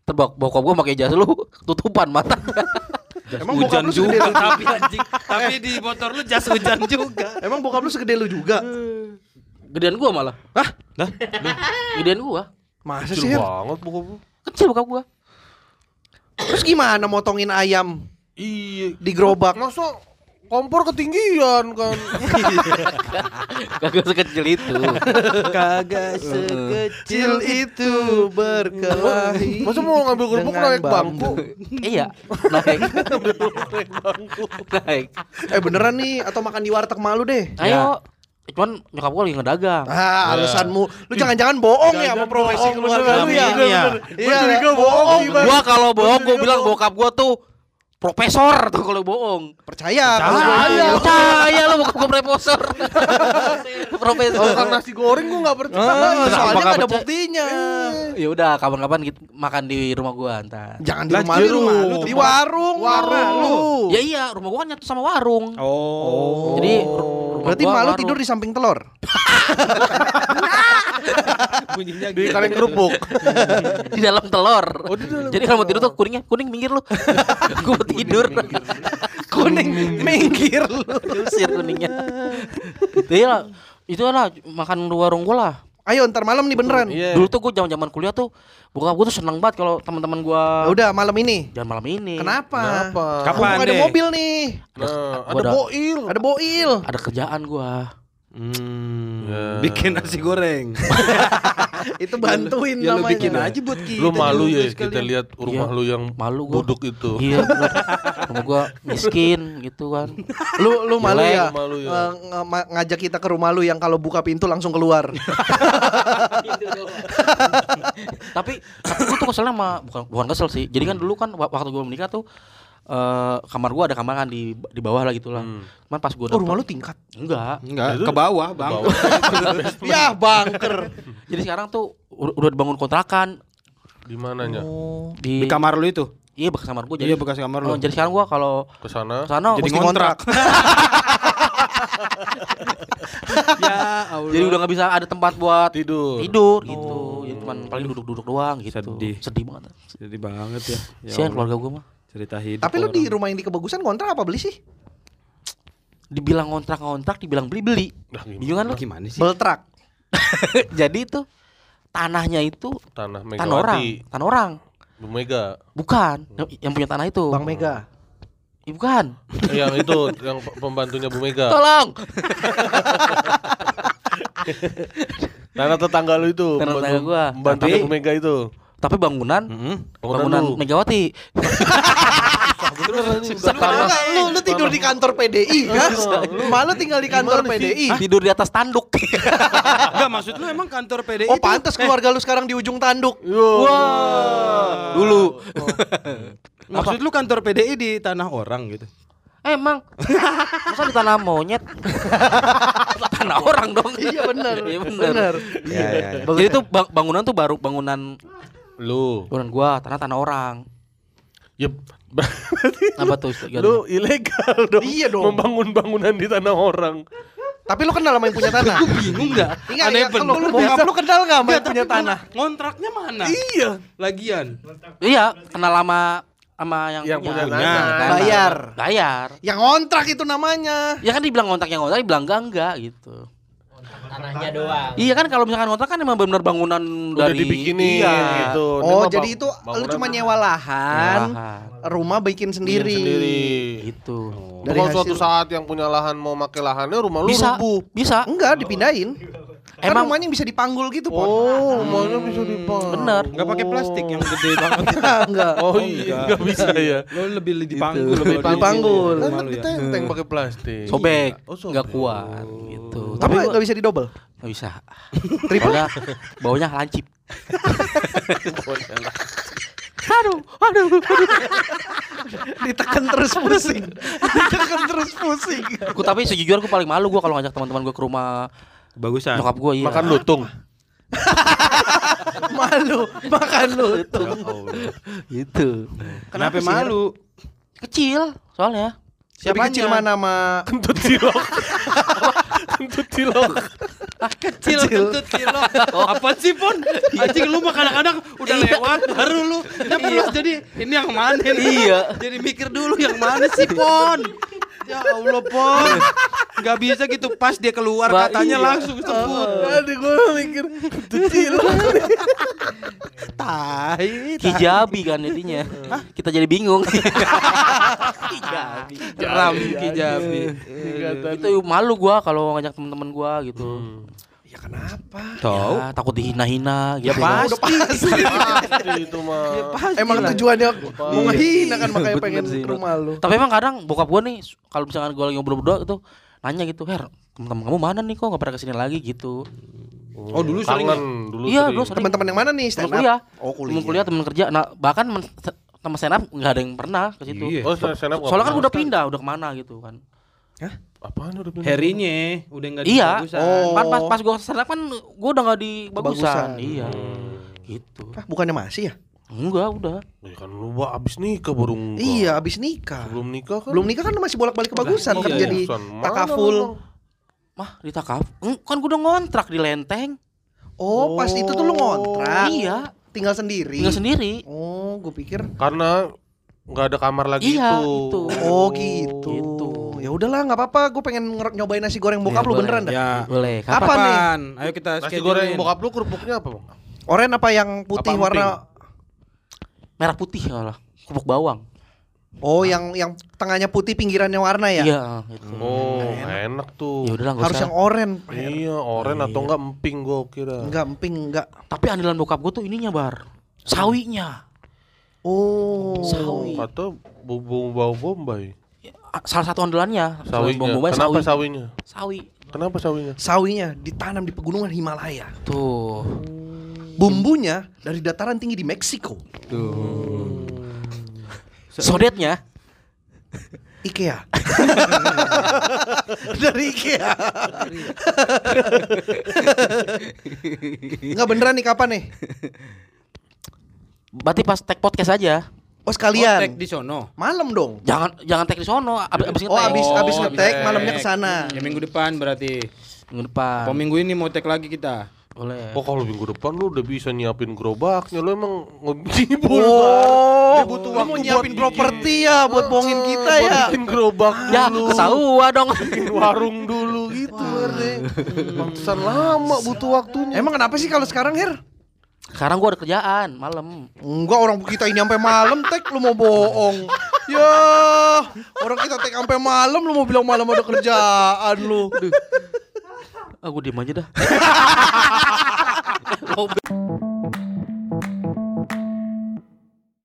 Terbok bokap gua pakai jas lu tutupan mata. Emang bokap Hujan lu segede juga lu? tapi anjing. tapi di motor lu jas hujan juga. Emang bokap lu segede lu juga? Gedean gua malah. Hah? Lah, Gedean gua. Masa sih? Her? Kecil banget bokap lu. Kecil bokap gua. Terus gimana motongin ayam Iya. di gerobak? Masa kompor ketinggian kan. Kagak sekecil itu. Kagak sekecil itu berkelahi. Masa mau ngambil kerupuk dengan naik bangku. bambu. iya, naik. Naik bangku. naik. Eh beneran nih atau makan di warteg malu Ya. deh. Ayo. Cuman nyokap gua lagi ngedagang. Ah, alasanmu. Lu jangan-jangan bohong ya sama Jangan profesi bohong, keluarga beneran, lu ya. beneran, Iya. beneran. Iya, Gua curiga bohong, bohong. Oh, gimana? Gua kalau bohong gua Gua bilang bohong. bokap gua tuh profesor tuh kalau bohong. Percaya. Percaya. kalau Percaya, bohong. percaya lu bokap gua profesor. profesor. Tukang nasi goreng gua enggak percaya. Ah, soalnya Kenapa nggak ada percaya? buktinya. ya udah kapan-kapan kita makan di rumah gua ntar Jangan di Lah, rumah di lu, rumah lu, di warung, Warung. lu. ya iya rumah gua kan nyatu sama warung Oh. jadi ru- rumah Berarti gua malu warung. tidur di samping telur. bunyinya Di kaleng kerupuk. di dalam telur Oh, di dalam jadi kalau mau tidur tuh kuningnya kuning minggir lu gua mau tidur Kuning minggir lu. diusir kuningnya itu ya lah itu lah makan di warung gua lah Ayo ntar malam nih beneran. Iya. dulu tuh gua zaman zaman kuliah tuh bokap gua tuh seneng banget kalau teman-teman gua Nah, udah malam ini. jangan malam ini Kenapa? Kenapa? Kapan? Mumpung ada deh? mobil nih. Nah, Gua ada ada- boil. Ada boil. ada kerjaan gua Hmm. Bikin nasi goreng. Itu bantuin ya lu namanya. bikin aja buat kita. Lu malu juga ya sekalian. kita lihat rumah Iya, lu yang malu gua. buduk itu. Iya, bener. rumah gua miskin gitu kan. Lu lu malu Jelek. ya, Malu ya. eh, nge- ma- ngajak kita ke rumah lu yang kalau buka pintu langsung keluar. tapi tapi gue tuh keselnya sama bukan bukan kesel sih jadi kan dulu kan wa- waktu gue menikah tuh eh, kamar gua ada kamar kan di di bawah lah gitulah Hmm. cuman pas gue oh, rumah lu tingkat. enggak Enggak, ke bawah, Bang. Bawah. ya bangker. jadi sekarang tuh u- udah dibangun kontrakan Di mananya? Oh. Di di, kamar lu itu. iya bekas kamar gue jadi Iya, bekas kamar lu. Oh, jadi sekarang gua kalau Ke sana. sana Jadi mesti ngontrak. ya ngontrak. Allah. jadi udah nggak bisa ada tempat buat Tidur. tidur gitu jadi cuman paling duduk-duduk doang gitu Sedih. sedih banget Sedih banget ya. Ya Sian Allah. keluarga gua mah cerita hidup. Tapi lu di orang. rumah yang di kebagusan kontrak apa beli sih? dibilang ngontrak-ngontrak dibilang beli-beli Dah, gimana? bingung kan lu gimana sih? Beltrak. jadi itu tanahnya itu Tanah tanah orang Megawati. tanah orang Bu Mega. Bukan, yang- yang punya tanah itu. Bang Mega. Ih, bukan. Eh, yang itu yang pe- pembantunya Bu Mega. Tolong. Tanah tetangga lu itu. Tanah pembantu- tetangga gua. Pembantunya Tapi- Bu Mega itu. Tapi bangunan Mm-hmm. Mm-mm. bangunan Hmm. lu. Megawati. Lu nggak- lu, lu tidur di kantor PDI kan? Malu tinggal di kantor PDI. Tidur di atas tanduk. Enggak maksud lu emang kantor PDI Oh pantas keluarga lu sekarang di ujung tanduk. Wah. Dulu. Maksud lu kantor PDI di tanah orang gitu. Emang masa di tanah monyet? tanah orang dong. Iya, bener. Iya benar. Bener. Iya, iya, iya. Jadi tuh bang- bangunan tuh baru bangunan Lu. bangunan gua, tanah tanah orang. Yep. Apa tuh? Gimana? lu ilegal dong. Iya dong. Membangun bangunan di tanah orang. Tapi lu kenal sama yang punya tanah? Bingung enggak? Ingat ya, kalau lu bokap lu kenal enggak sama yang punya tanah? Kontraknya mana? Iya. Lagian. Iya, kenal sama sama yang, Yang punya tanah. tanah. Bayar. Bayar. Yang Ya ngontrak itu namanya. Ya kan dibilang ngontrak yang ngontrak, dibilang enggak enggak gitu. Tanahnya doang. Iya kan kalau misalkan kontrak kan emang benar-benar bangunan Udah dari dibikinin iya. gitu. Ini Oh, mah jadi bang- itu lu bangunan cuma nyewa lahan, Lahan. rumah bikin sendiri. sendiri. Gitu. Itu Dari Kalau suatu hasil- saat yang punya lahan mau make lahannya rumah lu Bisa, rubuh. bisa. Ah, Enggak, dipindahin. Kan Emang- rumahnya yang bisa dipanggul gitu, Pon. rumahnya bisa dibangun. Hmm. Bener. Enggak pakai plastik yang gede banget. enggak. Oh, iya, enggak bisa ya. Oh. Lu lebih dipanggul Lebih kalau di- dipanggul. di Kan rumah lu ya. ditenteng pakai plastik. Hmm. Sobek, Oh, sobek. Oh. enggak kuat gitu. Tapi Tapi gua- enggak bisa didobel. enggak bisa. Baunya, baunya lancip. aduh, aduh. Ditekan terus pusing. Ditekan terus pusing. Gua- tapi sejujurnya gua paling malu gua kalau ngajak teman-teman gua ke rumah Bagusan. nyokap gua iya. Nah, Makan lutung. Malu makan lu. gitu. Kenapa, sih, malu? Kecil soalnya. Siapa Siapanya? kecil mana sama Kentut cilok. Kentut cilok. Kecil, kentut, kilo. Oh. Apa sih, Pon? Iya. Anjing lu mah kadang-kadang udah lewat baru lu. Kenapa lu jadi ini yang mana nih? Iya. Jadi mikir dulu yang mana sih, Pon? Ya Allah, Pon. Gak bisa gitu pas dia keluar Wah, katanya iya. langsung sebut. Oh. Aduh, gua mikir kecil. Tai, tai. Hijabi kan jadinya. Hmm. Kita jadi bingung. Hijabi. Ram Kijabi. Itu malu gua kalau ngajak teman-teman gua gitu. Hmm. Ya kenapa? Tahu? Ya, takut dihina-hina gitu. Oh. Ya pasti. Pasti itu Iya, mah. Emang tujuannya mau Iya. ngehina kan makanya Bener pengen sih, ke rumah lu. Tapi emang kadang bokap gua nih su- kalau misalkan gua lagi ngobrol berdua itu nanya gitu, "Her, teman-teman kamu mana nih kok nggak pernah kesini lagi gitu?" Oh, dulu sering. Dulu iya, sering. dulu sering. Teman-teman yang mana nih Temen stand up? kuliah. Oh, kuliah. Temen kuliah, temen kerja. Nah, bahkan men- se- temen stand up nggak ada yang pernah ke situ. Iya. Oh, stand up. Soalnya kan udah pindah, udah kemana gitu kan. Apaan udah pindah? Herinya udah enggak Iya. Oh. Kan pas pas gua stand up kan gua udah nggak di bagusan. Bagusan. Iya. Gitu. Ah, bukannya masih ya? Enggak, udah. Ya kan lu bah, abis nikah baru enggak. Iya, abis nikah. Belum nikah kan? Belum nikah kan masih bolak-balik ke bagusan kan Iya, jadi iya. Mana takaful. Mah, ditakaf. Eng, Kan gua udah ngontrak di Lenteng. Oh, pas itu tuh lu ngontrak. Iya. Tinggal sendiri. Tinggal sendiri. Oh, gue pikir. Karena nggak ada kamar lagi Iya, itu. itu. Oh, gitu. gitu. Ya udahlah, nggak apa-apa. Gue pengen nger- nyobain nasi goreng bokap lu Ya, boleh. beneran iya. dah. Ya. Boleh. Nah. Apa Kapan? nih? Kapan? Ayo kita Nasi schedule-in. goreng bokap lu kerupuknya apa, Bang? Oren apa yang putih Apa warna Merah putih lah. Kerupuk bawang. Oh, yang yang tengahnya putih, pinggirannya warna ya? Iya, gitu. Oh, enak tuh. Ya udahlah nggak Harus usah. yang oren. Iya, oren atau enggak emping gua kira. Enggak emping, enggak. Tapi andalan bokap gue tuh ininya bar. Sawinya. Oh. Sawi. Atau bumbu bau bombay. A- Salah satu andalannya. Sawinya. Bawang bombay Kenapa sawi. sawinya? Sawi. Kenapa sawinya? Sawinya ditanam di pegunungan Himalaya. Tuh. Bumbunya dari dataran tinggi di Meksiko. Sodetnya. IKEA. dari IKEA. Enggak beneran nih kapan nih? Berarti pas tag podcast aja. Oh Kotek sekalian. di sono. Malam dong. Jangan jangan tag di sono. Abis, abis Oh, ngetek. abis abis Oh, ngetek ngetek. malamnya ke sana. Ah. Ya minggu depan berarti. Minggu depan. Apa minggu ini mau tag lagi kita? Boleh. Oh kalau minggu depan lu udah bisa nyiapin gerobaknya Lu emang ngibul Oh, Dia butuh lu waktu mau buat- nyiapin properti ya buat bohongin kita Buat ya. bikin gerobak Ya, dulu kesawa dong. Bikin warung dulu gitu Erne. Hmm. Pantesan lama butuh waktunya Emang kenapa sih kalau sekarang Her? Sekarang gua ada kerjaan malam. Enggak orang kita ini sampai malam tek lu mau bohong. Ya, orang kita tek sampai malam lu mau bilang malam ada kerjaan lu. Aku diem aja dah.